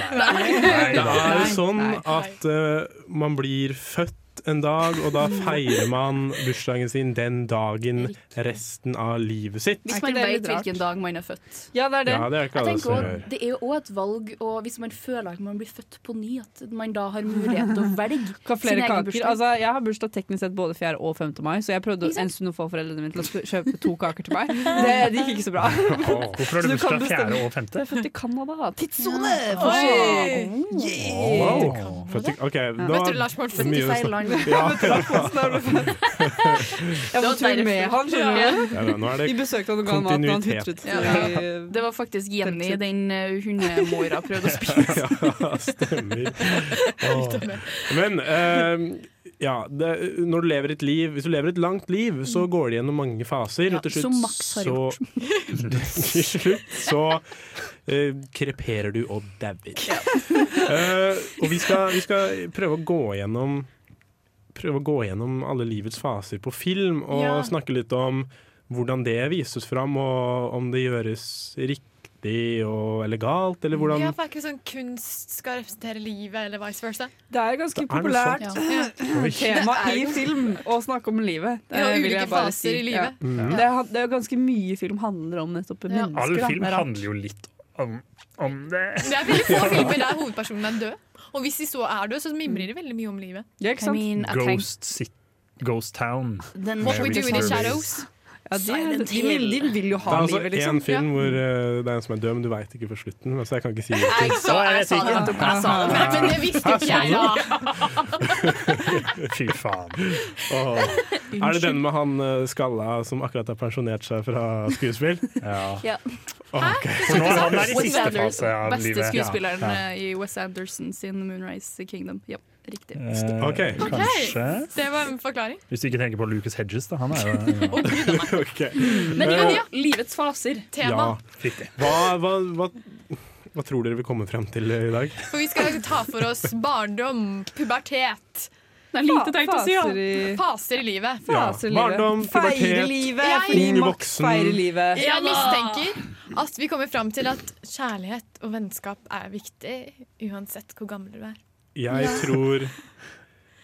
S7: det er sånn at eh, man blir født en dag, og da feirer man bursdagen sin den dagen resten av livet sitt.
S10: Hvis man
S4: det
S10: vet
S4: litt rart?
S10: hvilken dag man er født.
S4: Ja, det er det.
S7: Ja, det er ikke
S10: Jeg
S7: alle
S10: tenker
S7: som
S10: også,
S7: gjør.
S10: Det er jo òg et valg, og hvis man føler at man blir født på ny, at man da har mulighet til å velge
S4: Hva
S10: sin
S4: flere
S10: egen
S4: kaker?
S10: bursdag.
S4: Altså, jeg har bursdag teknisk sett både 4. og 5. mai, så jeg prøvde en stund å få foreldrene mine til å sp- kjøpe to kaker til meg. Det, det gikk ikke så bra.
S1: Hvorfor har
S4: Så
S1: du
S4: du kan
S1: bursdag
S4: bestemme.
S1: 4. og 5.?
S4: Jeg er født i Canada. Tidssone!
S9: Oi!
S7: Wow. Født i- OK, da
S9: Møtte du Lars Monsen?
S7: mye
S9: Til feil
S7: snakk-
S9: land.
S7: Ja.
S9: Møtte Lars Monsen da du
S4: Jeg var på tur med han, skjønner du.
S7: Ja, da, nå er det
S4: Vi besøkte han og ga han mat, og han
S7: kontinuitet.
S4: hutret.
S10: Ja. Det var faktisk Jenny, den eh, hundemora, prøvde å spise.
S7: Ja, stemmer. Åh. Men eh, ja, det, når du lever et liv Hvis du lever et langt liv, så går det gjennom mange faser.
S10: Mm. Ja,
S7: og til slutt
S10: som Max har
S7: så- Til slutt så eh, kreperer du og dauer. Eh, og vi skal, vi skal prøve å gå gjennom Prøve å gå gjennom alle livets faser på film, og
S9: Ja.
S7: snakke litt om hvordan det vises fram, og om det gjøres riktig og, eller galt, eller hvordan
S9: Ja, for er ikke sånn kunst skal representere livet, eller vice versa?
S4: Det er ganske
S7: noe
S4: populært
S7: sånt.
S9: Ja.
S4: tema
S9: Det er
S4: i
S9: jo-
S4: film å snakke om livet. Det
S9: Ja,
S4: vil
S9: ulike
S4: jeg bare
S9: faser i livet.
S4: Ja.
S1: Mm.
S4: Det, er, det er jo ganske mye film handler om nettopp mennesker.
S1: All
S4: da.
S1: film
S4: Det er rart.
S1: handler jo litt om, om det.
S9: Det er veldig få filmer der hovedpersonen er død. Og hvis de så er død, så mimrer de veldig mye om livet.
S4: Ja,
S1: I mean, Ghost, City, Ghost Town.
S9: Then What We Do in the Shadows.
S4: Ja, de, de, de vil jo
S7: Det
S4: ha
S7: er altså
S4: livet, liksom.
S7: én film hvor eh, det er en som er død, men du veit ikke før slutten. Så jeg kan ikke si det.
S9: Jeg sa-
S1: jeg
S9: jeg
S1: vet
S9: sa det
S1: ikke.
S9: nettopp, jeg sa det. Men- Men det visste jo ikke jeg, da.
S1: Fy faen.
S7: Åh. Er det den med han eh, skalla som akkurat har pensjonert seg fra skuespill?
S1: Ja.
S10: Ja.
S7: Åh, ok.
S1: For nå er han der i
S10: Wes
S1: siste
S10: Anderson,
S1: fase av livet.
S10: Beste skuespilleren
S1: Ja, ja.
S10: eh, i Wes Anderson sin 'Moonrise Kingdom'. Ja, riktig.
S1: Eh,
S7: Ok.
S9: Ok.
S1: Kanskje.
S9: Det var en forklaring.
S1: Hvis du ikke tenker på Lucas Hedges, da. Han er jo
S7: Ok.
S10: Men
S7: Eh,
S10: ja, livets faser.
S9: Tema.
S7: Hva, hva, hva Hva tror dere vi kommer frem til eh, i dag?
S9: For vi skal ta for oss barndom, pubertet.
S10: Det er lite teit å si, ja.
S9: Faser i- Faser i livet.
S7: Ja, Faser i livet. barndom, pubertet,
S4: Feire livet,
S9: Jeg-
S4: fordi
S7: ung
S4: makt
S7: voksen.
S4: feirer livet.
S9: Jeg mistenker at vi kommer fram til at kjærlighet og vennskap er viktig uansett hvor gammel du er.
S7: Jeg tror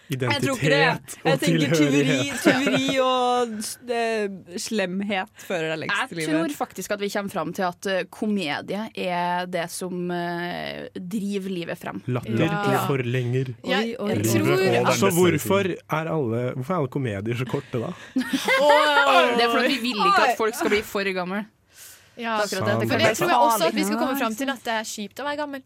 S4: Jeg tror
S7: identitet
S4: ikke det. Jeg
S7: og
S4: tenker tyveri,
S7: tilhørighet.
S4: tyveri og s- eh, slemhet fører deg lengst i
S10: Jeg
S4: livet.
S10: tror faktisk at vi kommer fram til at eh, komedie er det som eh, driver livet frem.
S7: Latter ja. forlenger
S10: Jeg- jeg
S7: livet.
S10: tror-
S7: Så hvorfor er, alle, hvorfor er alle komedier så korte, da?
S10: Det er fordi vi vil ikke at folk skal bli for gamle.
S9: Ja.
S10: Det er akkurat det. Det
S9: Men
S10: kan
S9: det
S10: være
S9: tror jeg også at vi skal
S10: farlig.
S9: komme fram til at det er kjipt å være gammel.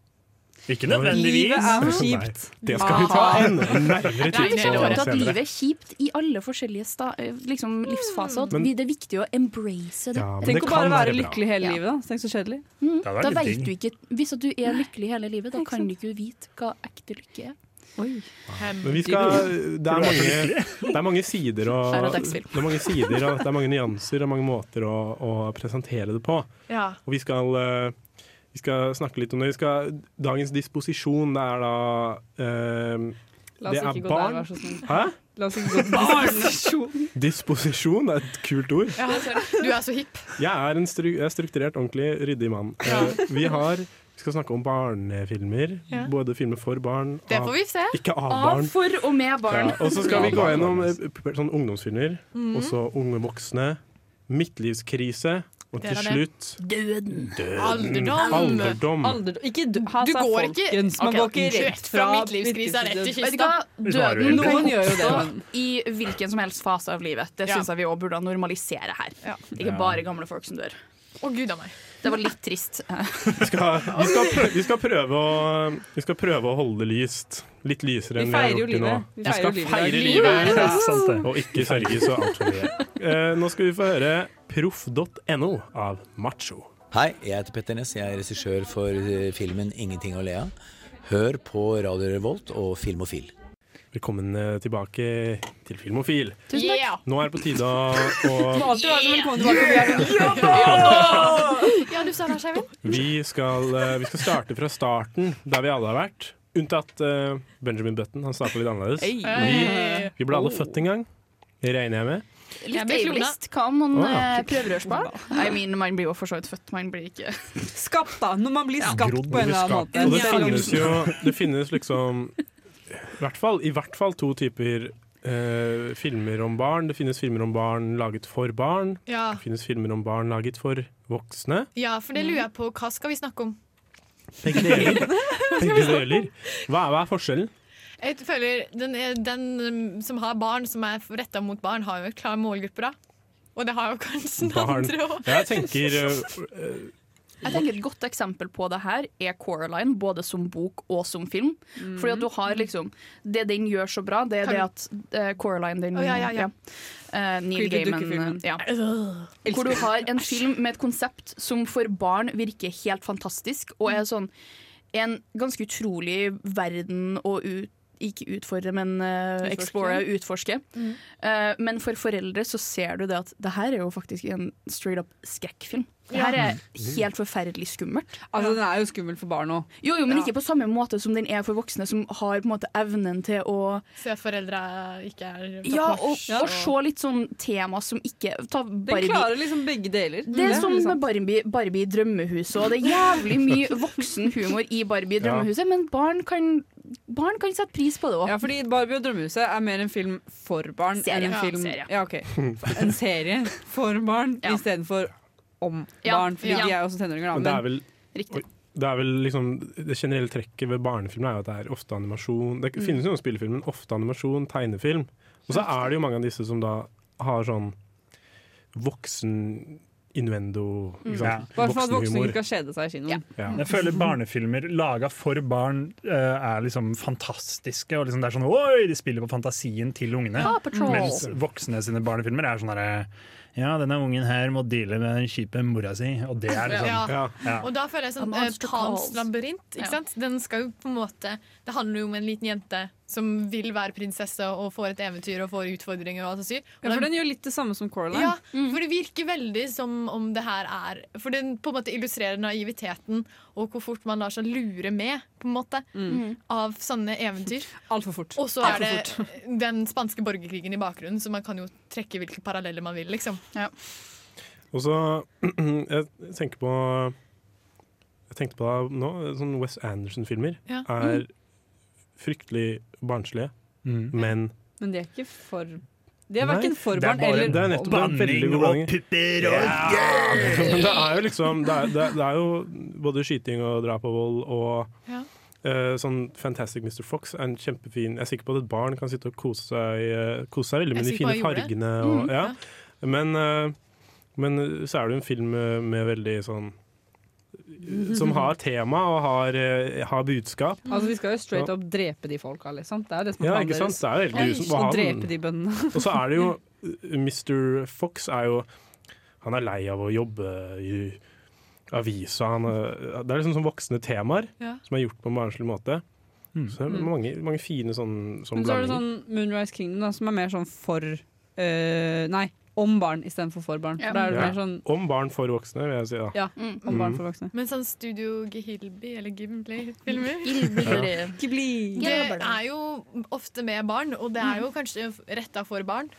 S1: Ikke
S4: Livet
S1: nødvendigvis.
S4: er for kjipt.
S7: Det skal vi ta en nærmere
S10: Nei,
S7: titt
S10: men jeg tror at livet er kjipt i alle forskjellige sta eh, liksom, livsfaser. At
S7: Men-
S10: vi- det er viktig å embrace det.
S7: Ja, men
S4: Tenk
S7: det
S4: å bare
S7: kan
S4: være
S7: være bra.
S4: lykkelig hele livet, da. Tenk så kjedelig.
S7: Det hadde vært
S10: Da
S7: litt
S10: vet
S7: digg.
S10: du ikke, Hvis at du er lykkelig hele livet, da kan du ikke vite hva ekte lykke er.
S7: Men vi skal, det, er mange, det er mange sider og
S10: Skjær og
S7: det
S10: dagsfilm.
S7: er mange, sider, og det er mange nyanser og mange måter å, å presentere det på.
S9: Ja.
S7: Og vi skal, eh, vi skal snakke litt om det. Vi skal, dagens disposisjon det er da eh,
S4: La
S7: Det
S4: oss
S7: er
S4: ikke gå
S7: barn.
S4: der, vær så snill.
S7: Hæ?
S4: La oss ikke gå barn.
S7: Disposisjon er et kult ord.
S9: Ja, du er så hipp.
S7: Jeg er en stru jeg er strukturert, ordentlig ryddig mann. Eh, vi har vi skal snakke om barnefilmer.
S9: Ja.
S7: Både filmer for barn
S9: Det
S7: av-
S9: får vi se.
S7: Ikke av barn.
S10: for og med barn.
S7: Ja, og så skal vi gå gjennom eh, pu- sånn ungdomsfilmer,
S10: Mhm.
S7: og så unge voksne, midtlivskrise, og
S9: Det
S7: til
S9: er det.
S7: slutt
S10: Døden.
S7: døden.
S9: Alderdom.
S7: Alderdom.
S4: Alderdom. Ikke dø- her
S9: Du
S4: sa
S9: går
S4: folkens,
S9: ikke-
S4: Man går
S9: Ok,
S4: ikke rett
S9: rett fra
S4: fra
S9: midtlivskrisa rett i
S4: midtlivskrise.
S9: kista.
S10: Vet du hva?
S4: Vi svarer jo
S10: Døden
S4: ikke.
S10: kan
S4: Noen gjør jo det,
S10: oppstå i hvilken som helst fase av livet. Det
S9: Ja.
S10: syns jeg vi òg burde normalisere her. Det er
S7: Ja.
S10: ikke bare gamle folk som dør.
S9: Å, gud a meg.
S10: Det var litt trist.
S7: Vi skal, vi, skal prøve, vi, skal prøve å, vi skal prøve å holde det lyst. Litt lysere enn
S4: Vi
S7: vi har
S4: feirer jo
S7: gjort til nå.
S4: livet. Vi
S7: Vi skal
S4: feirer jo livet.
S7: feire
S4: Livet er
S7: livet,
S4: det. Sant det.
S7: og ikke sørge så altfor mye. Eh, nå skal vi få høre proff.no av Macho.
S14: Hei, jeg heter Petter Ness. Jeg er regissør for eh, filmen 'Ingenting å le av'. Hør på Radio Revolt og Filmofil.
S7: Velkommen eh, tilbake til Filmofil.
S9: Tusen takk. Yeah.
S7: Nå er det på tide å å-
S9: må alltid være velkommen tilbake. Ja, du sa det, Skeivind.
S7: Vi skal, eh, vi skal starte fra starten, der vi alle har vært. Unntatt eh, Benjamin Button. Han starta litt annerledes.
S10: Hey.
S9: Eh,
S7: Vi, vi ble alle født en gang. Det regner jeg med.
S10: Litt ableist. Hva om man
S7: Å, ja.
S10: eh, prøverørsbarn? I mean, man blir jo for så vidt født, man blir ikke
S4: Skapt, da. Når man blir skapt
S7: Grodd
S4: på en
S7: med
S4: eller
S7: skap.
S4: annen
S7: Og
S4: måte.
S7: det finnes jo Det finnes liksom i hvert fall, i hvert fall to typer eh, filmer om barn. Det finnes filmer om barn laget for barn.
S9: Ja.
S7: Det finnes filmer om barn laget for voksne.
S9: Ja, for det lurer jeg på. Hva skal vi snakke om?
S7: Begge deler. Begge deler. Hva, er- hva er forskjellen?
S9: Jeg føler den, er- den um, som har barn, som er retta mot barn, har jo en klar målgruppe, da. Og det har jo kanskje den
S7: Barn.
S9: andre òg.
S7: Jeg tenker eh, eh,
S10: Jeg tenker Et godt eksempel på det her er Coraline, både som bok og som film. Fordi at du har liksom Det den gjør så bra, det er
S9: Mm. Kan-
S10: det at eh, Coraline den,
S9: Å, ja, ja, ja.
S10: Eh, Neil
S4: Creepy
S10: Gaiman
S4: dukkefilmen.
S10: eh, ja. Hvor du har en film med et konsept som for barn virker helt fantastisk, og
S9: Mm.
S10: er sånn en ganske utrolig verden å ut, ikke utfordre, men
S4: Utforske.
S10: eh, explore, utforske.
S4: Mm.
S10: Eh, men for foreldre så ser du det at det her er jo faktisk en straight up skrekkfilm. Det her
S4: Ja.
S10: er helt forferdelig skummelt.
S4: Altså, den er jo skummel for barn òg.
S10: Jo, jo, men
S4: Ja.
S10: ikke på samme måte som den er for voksne, som har på en måte evnen til å
S9: Se at foreldre ikke er
S10: Ja, og, og se litt sånn tema som ikke Ta
S4: Den
S10: Barbie.
S4: klarer liksom begge deler.
S10: Det er som med Barbie, Barbie i drømmehuset, og det er jævlig mye voksen humor i Barbie i
S4: Ja.
S10: drømmehuset, men barn kan, barn kan sette pris på det òg.
S4: Ja, fordi Barbie og drømmehuset er mer en film for barn
S10: Serie.
S4: enn en
S10: Ja,
S4: film
S10: serie.
S4: Ja, ok. En serie for barn istedenfor om
S10: Ja.
S4: barn, fordi
S10: Ja.
S4: de er jo også tenåringer. da,
S7: Men det er vel
S10: Riktig.
S7: Oi, Det er vel liksom Det generelle trekket ved barnefilmer er jo at det er ofte animasjon. Det
S10: Mm.
S7: finnes jo noen spillefilmer, men ofte animasjon, tegnefilm. Og så er det jo mange av disse som da har sånn voksen innuendo.
S4: Mm.
S7: Ikke sant?
S4: Bare for at voksne
S7: Voksenhumor.
S4: ikke skal kjede seg i kinoen.
S7: Ja.
S1: Jeg føler barnefilmer laga for barn eh, er liksom fantastiske. Og liksom det er sånn, Oi, de spiller på fantasien til ungene.
S4: Paw Patrol.
S1: Mens voksne sine barnefilmer er sånn herre Ja, denne ungen her må deale med den kjipe mora si. Og det er liksom
S9: Ja.
S1: Ja.
S9: Og da føler jeg sånn
S10: A
S9: eh,
S10: Monster Calls.
S9: Pans labyrint. Ikke
S10: Ja.
S9: sant? Den skal jo på en måte Det handler jo om en liten jente som vil være prinsesse og får et eventyr og får utfordringer. og alt sånt.
S4: Ja, for den gjør litt det samme som Coraline.
S9: Ja,
S10: Mm.
S9: for det virker veldig som om det her er For den på en måte illustrerer naiviteten og hvor fort man lar seg lure med på en måte
S4: Mm.
S9: av sanne eventyr.
S4: Altfor fort.
S9: Og så
S4: Alt
S9: er
S4: for
S9: det den spanske borgerkrigen i bakgrunnen, så man kan jo trekke hvilke paralleller man vil. liksom.
S7: Og så Jeg tenker på Jeg tenkte på det nå. Sånne West Anderson-filmer
S4: Ja.
S7: er
S4: Mm.
S7: fryktelig barnslige,
S1: Mm.
S7: men
S4: Men de er ikke for De er
S7: Nei,
S4: verken for
S7: det er
S4: barn
S7: bare-
S4: eller
S7: Det er nettopp det er veldig god blanding. Ja. Men det er jo liksom det er, det, er, det er jo både skyting og drap og vold og
S9: Ja.
S7: eh, sånn Fantastic Mr. Fox er en kjempefin Jeg er sikker på at et barn kan sitte og kose seg, eh, kose seg veldig med de
S9: Jeg er
S7: fine
S9: sikker på at jeg gjorde det.
S7: fargene. Og,
S9: Mm,
S7: ja. men, eh, men eh, så er det jo en film med, med veldig sånn Som har tema og har, eh, har budskap.
S4: Altså Vi skal jo straight
S7: Ja.
S4: up drepe de folka, liksom. Det er jo det som er
S7: Ja,
S4: planen
S7: ikke sant?
S4: deres.
S7: Det er jo helt grusomt å ha
S4: Og
S7: den.
S4: drepe de bøndene.
S7: Og så er det jo Mr. Fox er jo Han er lei av å jobbe i avisa. Han, eh, det er liksom sånn voksne temaer
S4: Ja.
S7: som er gjort på en barnslig måte. Så det
S4: Mm.
S7: er mange, mange fine sånn, sånn
S4: Men så er det
S7: blandinger.
S4: sånn Moonrise Kingdom, da, som er mer sånn for eh, Nei, om barn istedenfor for barn. For Da er det
S7: Ja. Mm.
S4: mer sånn
S7: Om barn for voksne, vil jeg si. Da.
S4: Ja, om barn for voksne.
S9: Men sånn Studio Gihilby eller Gimbley-filmer
S7: Ghibli.
S9: Det er jo ofte med barn, og det er jo kanskje retta for barn.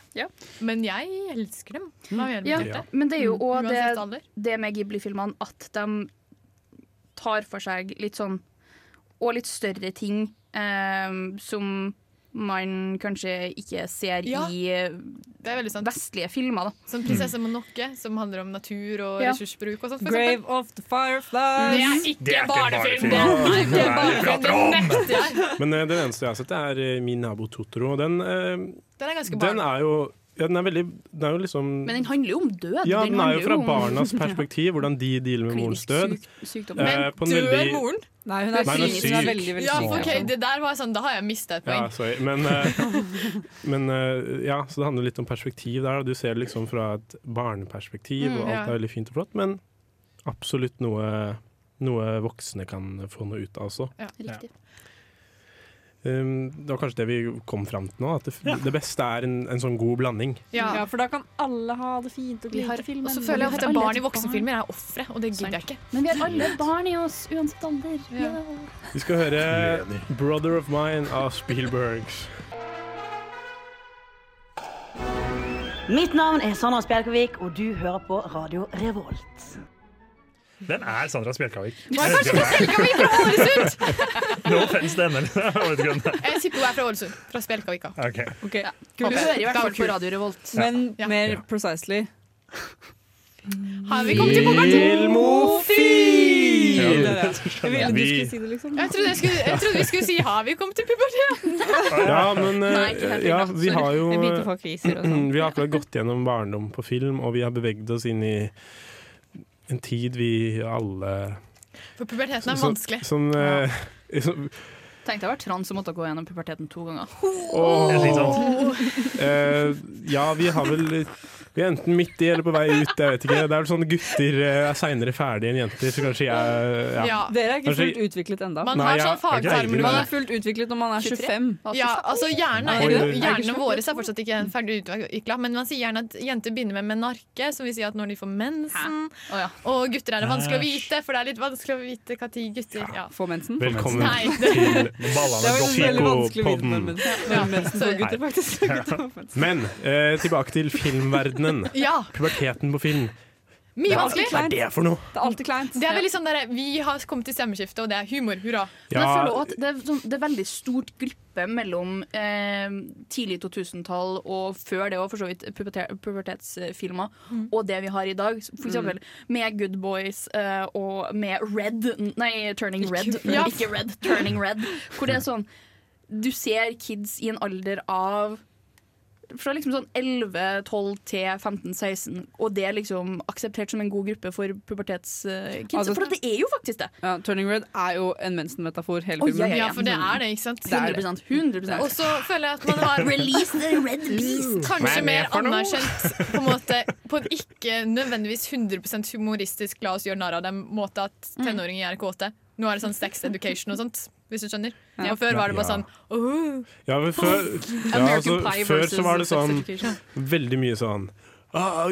S9: Men jeg elsker dem. Hva mener du
S10: Ja,
S9: med dette?
S10: men det er jo òg
S9: Uansett alder.
S10: det, det med Ghibli-filmene at de tar for seg litt sånn Og litt større ting eh, som man kanskje ikke ser
S9: Ja,
S10: i eh, vestlige filmer. Da.
S9: Som 'Prinsesse Monokke', som handler om natur og
S10: Ja.
S9: ressursbruk. og sånt, for
S4: Grave
S9: eksempel.
S4: of the Fireflies.
S9: Det er ikke Det er ikke barnefilm, barnefilm. det.
S7: Nei,
S9: Nei, det er barnefilm, det nekter jeg.
S7: Men eh, den eneste jeg har sett, er eh, Min nabo Totoro. Den, eh,
S9: Den er ganske barn.
S7: den er jo ja, den er veldig Den er jo liksom
S10: Men den handler jo om død.
S7: ja, den er
S10: handler
S7: jo fra
S10: jo om-
S7: barnas perspektiv, hvordan de dealer med morens død.
S10: sykdom.
S7: Eh,
S9: Men
S7: på en
S9: dør
S7: veldig-
S9: moren?
S4: Nei,
S7: hun er Nei, hun er syk. Hun er syk.
S4: veldig, veldig
S9: ja,
S7: syk.
S9: ok, Det der var sånn, da har jeg mista et poeng.
S7: Ja, sorry. Men, eh, men eh, ja, så det handler litt om perspektiv der. da. Du ser det liksom fra et barneperspektiv,
S9: Mm,
S7: og alt
S9: ja.
S7: er veldig fint og flott, men absolutt noe, noe voksne kan få noe ut av også.
S9: Ja.
S10: Riktig.
S7: Um, det var kanskje det vi kom fram til nå, at det, det beste er en, en sånn god blanding.
S4: Ja. for da kan alle ha det fint og
S9: Vi har-
S4: like filmen.
S9: og så føler jeg ofte
S4: Alle
S9: barn
S4: et
S9: i voksenfilmer er ofre, og det gidder jeg ikke.
S10: Men vi har alle barn i oss, uansett alder. Ja.
S7: Vi skal høre 'Brother of Mine' av Spielbergs.
S8: Mitt navn er Sandra Spjelkavik, og du hører på Radio Revolt.
S1: Hvem er Sandra Spjelkavik?
S9: Hva er kanskje Spjelkavik fra Ålesund?
S1: No offense til henne. liksom. Jeg vet ikke hvem det er.
S9: Jeg tipper hun er fra Ålesund. Fra Spjelkavika.
S1: Ok.
S4: Ok,
S9: Du hører i hvert fall på
S10: Radio Revolt.
S4: Men mer precisely
S9: Har vi kommet til punkt?
S7: Filmofil!
S4: Ja,
S7: Ja,
S4: det er det.
S7: det
S4: Jeg
S7: skjønner
S4: ville
S7: jeg.
S4: du
S7: Vi-
S4: skulle si det, liksom.
S9: Jeg trodde, jeg, skulle, jeg trodde vi skulle si 'har vi kommet til puberteten'?
S7: Ja, men eh,
S9: Nei, ikke helt
S7: ja,
S9: ennå.
S7: vi har jo
S9: Jeg begynte å få kriser og sånn.
S7: Mm, Vi har akkurat gått gjennom barndom på film, og vi har beveget oss inn i en tid vi alle
S9: For puberteten er
S7: som-
S9: vanskelig.
S7: Som, eh, som
S10: Tenk deg å være trans og måtte gå gjennom puberteten to ganger.
S7: Åh.
S1: sånn.
S7: Eh, ja, vi har vel Vi er enten midt i eller på vei ut, jeg vet ikke. Det er vel sånn gutter eh, er seinere ferdig enn jenter, så kanskje jeg ja.
S4: Dere er ikke
S7: Kanskje-
S4: fullt utviklet ennå.
S7: Man Nei, har jeg- sånn fagtermer jeg er ikke når man
S4: Man
S7: det.
S4: er fullt utviklet når man er 25.
S9: Ja, altså hjernen
S4: Er det
S9: er,
S4: det?
S9: Hjernen vår er fortsatt ikke ferdig utvikla, men man sier gjerne at jenter begynner med menarke, som vil si at når de får mensen. Og gutter er det vanskelig å vite, for det er litt vanskelig å vite hva tid gutter ja.
S4: Får mensen?
S7: Velkommen
S9: Nei.
S7: til
S4: Det var jo veldig vanskelig å vite når
S7: Psykopodden.
S4: mensen- når mensen får
S9: sorry.
S4: gutter, faktisk. Gutter får mensen.
S7: Men eh, tilbake til filmverdenen.
S9: Ja.
S7: Puberteten på film.
S9: Mye
S7: Hva
S9: vanskelig.
S7: er det for noe?
S4: Det er alltid kleint.
S9: Det er veldig sånn der, Vi har kommet til stemmeskiftet, og det er humor. Hurra.
S7: Men jeg Ja. føler
S10: at det, er sånn, det er veldig stort glippe mellom eh, tidlig 2000-tall og før det òg, for så vidt, pubertet, pubertetsfilmer, og det vi har i dag. For eksempel med Good Boys eh, og med Red Nei, Turning Red.
S9: Ja.
S10: Ikke Red, Turning Red. Hvor det er sånn Du ser kids i en alder av fra liksom sånn 11, 12 til 15, 16, og det er liksom akseptert som en god gruppe for pubertetskids.
S4: Altså-
S10: for at det er jo faktisk det.
S4: Ja, Turning Red er jo en mensenmetafor hele
S10: Å,
S4: filmen.
S10: ja, ja, ja.
S9: Ja, for det er det, ikke sant?
S4: Det er det.
S10: 100%, 100%.
S9: Og så føler jeg at man har
S10: Release the red beast.
S7: Hva er
S9: Kanskje
S7: det
S9: mer
S7: for noe?
S9: anerkjent på en måte På en ikke nødvendigvis 100 humoristisk la oss gjøre narr av dem måte at tenåringer er kåte. Nå er det sånn sex education og sånt. hvis du skjønner. Og før var det bare
S7: Ja.
S9: sånn «Åh,
S7: Ja, men før, ja, altså,
S9: American Pie
S7: før så
S9: versus
S7: var det sånn
S9: Sophistication.
S7: veldig mye sånn ah,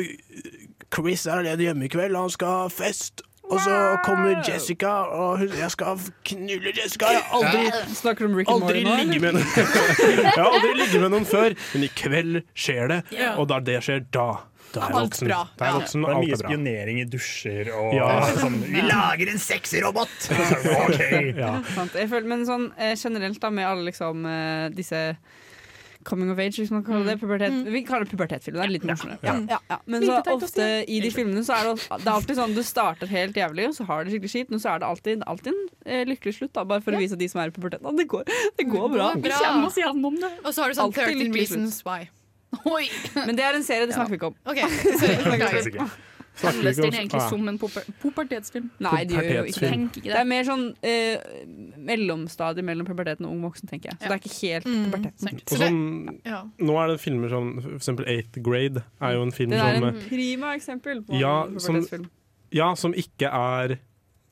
S7: Chris er alene hjemme i kveld, han skal ha fest. Og så kommer Jessica, og hun, jeg skal knulle Jessica. Jeg har aldri,
S4: Snakker du om Rick and
S7: aldri,
S4: Morty nå?
S7: ligge med
S4: eller?
S7: noen. jeg har aldri ligget med noen før, men i kveld skjer det.
S4: Ja.
S7: Og da det skjer, da, da er jeg
S1: Alt
S7: voksen.
S1: bra.
S7: Da er
S1: Ja.
S7: jeg voksen,
S1: Det er
S7: og
S1: mye
S7: alt er bra.
S1: spionering i dusjer og
S7: Ja.
S1: sånn Vi lager en sexrobot! Og så er det sånn, OK.
S7: Ja.
S4: Sant. Jeg føler, men sånn eh, generelt da, med alle liksom eh, disse Coming of age, hvis man kaller
S9: Mm.
S4: det. Pubertet. Vi kaller det pubertetfilm. Det er litt morsommere.
S5: Ja.
S4: Ja, ja, ja. Men så ofte i de filmene så er det, al- det er alltid sånn du starter helt jævlig, og så har du det skikkelig kjipt, men så er det alltid, alltid en eh, lykkelig slutt, da, bare for å vise de som er i puberteten at det går, det går bra.
S9: Det går bra. Vi kommer oss Og så har du sånn
S4: Alltid
S9: 13
S4: lykkelig
S9: Reasons Why.
S4: Men det er en serie, det snakker vi ikke om.
S9: Ok,
S7: Snakker vi
S10: Kalles
S7: ikke
S10: den
S7: om-
S10: egentlig
S7: ah.
S10: som en popu- pubertetsfilm?
S4: Nei, det gjør jo ikke det.
S10: Tenk ikke
S4: Det er mer sånn eh, mellomstadiet mellom puberteten og ung voksen, tenker jeg. Så det er ikke helt
S9: Mm,
S4: puberteten.
S7: Og sånn, nå er det filmer som for eksempel Eighth Grade er jo en film
S4: Det er
S7: som
S4: en sånn prima eksempel på
S7: ja,
S4: en
S7: som,
S4: pubertetsfilm.
S7: ja, som ikke er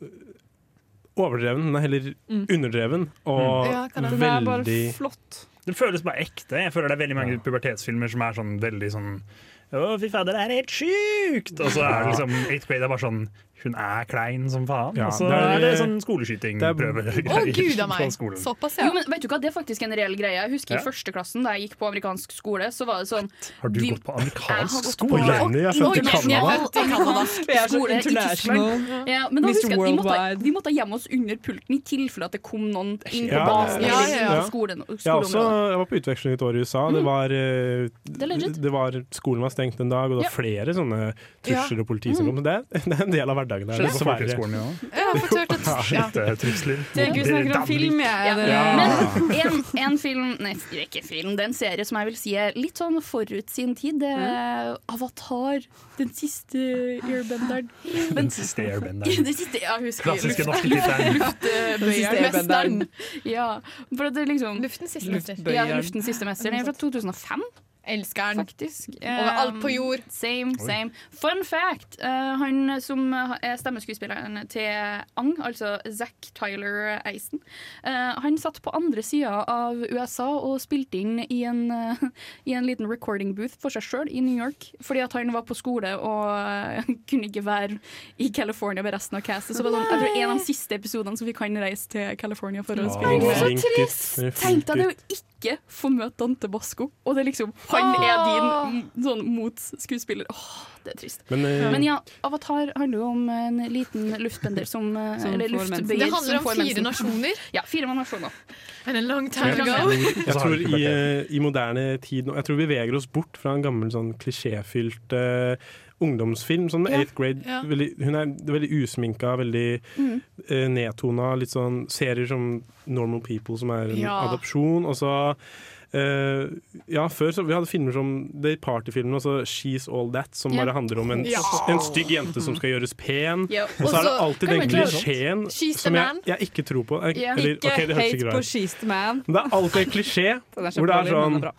S7: øh, overdreven, den er heller
S4: Mm.
S7: underdreven og
S4: Ja, kan det- Den er bare
S7: veldig
S4: flott.
S1: Det føles bare ekte. Jeg føler det er veldig mange pubertetsfilmer som er sånn veldig sånn Å, fy fader, det her er helt sjukt! Og så er det liksom Eighth Grade er bare sånn Hun er klein som faen.
S7: Ja,
S1: og så
S7: det
S1: er,
S7: er-
S1: det sånn skoleskytingprøve.
S10: Å, gud a meg.
S1: Så
S10: Jo, men vet du hva, Det er faktisk en reell greie. Jeg husker
S1: Ja.
S10: I første klassen da jeg gikk på amerikansk skole, så var det sånn
S1: Har du
S10: de-
S1: gått på
S10: Jeg har gått
S1: amerikansk
S10: på-
S1: skole?
S10: Amerikansk skole i Tyskland. Ja, men da
S4: Mr.
S10: husker jeg at vi måtte,
S4: Worldwide.
S10: vi måtte gjemme oss under pulten i tilfelle at det kom noen inn på
S7: Ja,
S10: basen.
S7: ja,
S10: eller inn
S7: ja.
S10: på skolen,
S7: Jeg, har også,
S10: skoleområdet.
S7: jeg var på utveksling et år i USA.
S4: Mm.
S7: Det var, eh,
S10: Det er legit.
S7: det var, skolen var stengt en dag, og det var flere sånne trusler og politi som
S10: Ja.
S7: kom. Så Det, er- det er en del av hverdagen. Der,
S1: Skjer det på
S7: dessverre.
S1: folkehøyskolen, ja?
S7: Skytetrusler.
S10: Det er ikke vi snakker om
S4: film, jeg.
S10: Ja.
S7: Ja.
S10: Men en, en film Nei, det er ikke film, det er en serie som jeg vil si er litt sånn forut sin tid. Det er
S9: Mm.
S10: Avatar. Den siste airbenderen.
S1: Den siste airbenderen.
S10: Den siste, ja, husker vi.
S1: Klassiske
S10: Luft-
S1: norske tittelen.
S4: Den siste airbenderen.
S10: Luftbøyeren. Ja, for at det er liksom
S9: Luftens siste mester.
S10: Ja, Luftens siste mester. Den er fra 2005.
S9: Elsker den.
S10: Faktisk. Um,
S9: Over alt på jord.
S10: Same, same. Fun fact! eh, han som eh, er stemmeskuespilleren til Ang, altså Zack Tyler Eisen, eh, han satt på andre sida av USA og spilte inn i en, eh, i en liten recording booth for seg sjøl i New York, fordi at han var på skole og eh, kunne ikke være i California med resten av castet. Så det var sånn, jeg tror en av de siste episodene som vi kan reise til California for å
S7: Ja,
S10: spille
S7: det
S10: inn.
S7: er flink gutt. Det er flink
S10: Tenk deg det å ikke få møte Dante Basco, og det er liksom Han er din mm, sånn motskuespiller. Åh, det er trist.
S7: Men, eh,
S10: Men ja, Avatar handler jo om en liten luftbender som, eh,
S9: Som
S10: Eller
S9: får mensen.
S10: luftbøyer
S9: Det handler
S10: som
S9: om
S10: får
S9: fire
S10: mensen.
S9: nasjoner?
S10: Ja, fire nasjoner.
S9: And a long
S7: Jeg,
S9: time
S7: jeg,
S9: ago.
S7: tror i, eh, i moderne tid nå Jeg tror vi beveger oss bort fra en gammel sånn klisjéfylt eh, ungdomsfilm. Sånn med
S9: Ja.
S7: eighth grade.
S9: Ja.
S7: Veldig, hun er veldig usminka, veldig
S9: Mm.
S7: eh, nedtona. Litt sånn serier som Normal People, som er en
S9: Ja.
S7: adopsjon. Og så eh, Ja, før så vi hadde filmer som de partyfilmene, altså She's All That, som
S9: Ja.
S7: bare handler om en,
S9: Ja.
S7: en stygg jente som skal gjøres pen.
S9: Ja.
S7: Og så er det
S9: Og så-
S7: alltid
S9: Kan
S7: den
S9: vi klare sånt?
S7: klisjeen
S9: She's the
S7: som jeg,
S9: man.
S7: jeg ikke tror på. Jeg,
S4: Ja.
S7: eller,
S4: Ikke
S7: ok, det høres
S4: hate
S7: ikke
S4: på
S7: bra ut.
S4: She's the Man.
S7: Men det er alltid en klisjé
S4: Den er
S7: hvor det er
S4: kjempedårlig, men
S7: sånn
S4: den er bra.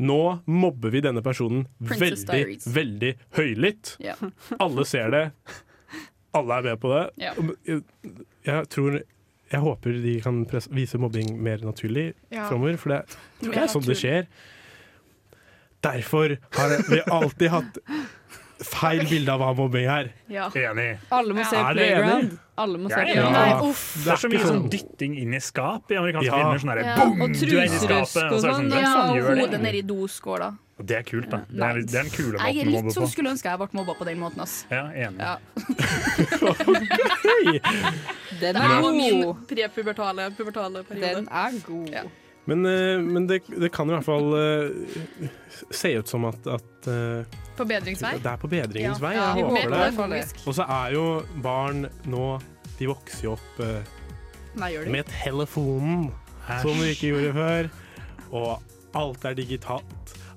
S7: Nå mobber vi denne personen
S4: Princess
S7: veldig,
S4: Diaries.
S7: veldig høylytt.
S10: Ja.
S7: Alle ser det. Alle er med på det.
S10: Ja.
S7: Jeg tror Jeg håper de kan pres- vise mobbing mer naturlig
S9: Ja.
S7: framover, for det
S9: Mer
S7: tror jeg er sånn det skjer. Derfor har vi alltid hatt feil bilde av hva mobbing er.
S10: Ja.
S7: eh,
S1: Enig.
S4: Alle må se
S7: Er dere
S4: Playground.
S7: enig?
S4: Alle må se
S1: Ja,
S4: Playground.
S1: ja.
S4: Nei, uff.
S1: Det er så mye
S7: ikke
S1: sånn
S7: sånn-
S1: dytting inn i skap i amerikanske
S7: Ja.
S1: filmer. Sånn der,
S10: Ja.
S1: boom,
S10: Og
S1: du er inne i
S10: truserusk
S1: skapet.
S10: og
S1: Og så er det sånn,
S10: sånn.
S1: hvem
S10: Ja,
S1: faen
S10: og
S1: gjør
S10: hodet
S1: det?
S10: nedi doskåla.
S1: Og Det er kult, da. Det er, det er sånn, den kule
S10: Jeg
S1: måten
S10: er
S1: å
S10: litt
S1: mobbe
S10: som
S1: på.
S10: skulle ønske jeg ble mobba på den måten, ass.
S1: Ja, enig.
S10: Ja.
S4: Den
S10: er
S7: er
S10: jo
S7: god.
S10: min prepubertale pubertale periode.
S4: Den er god.
S7: Men, eh, men det, det kan i hvert fall eh, se ut som at, at eh,
S9: Forbedringsvei.
S7: Det er på bedringens
S9: Ja.
S7: vei.
S9: Ja, vi
S7: Jeg
S9: håper det.
S7: håper det. Og så er jo barn nå De vokser jo opp eh,
S4: Nei, gjør de?
S7: med telefonen, som de ikke gjorde før. Og alt er digitalt.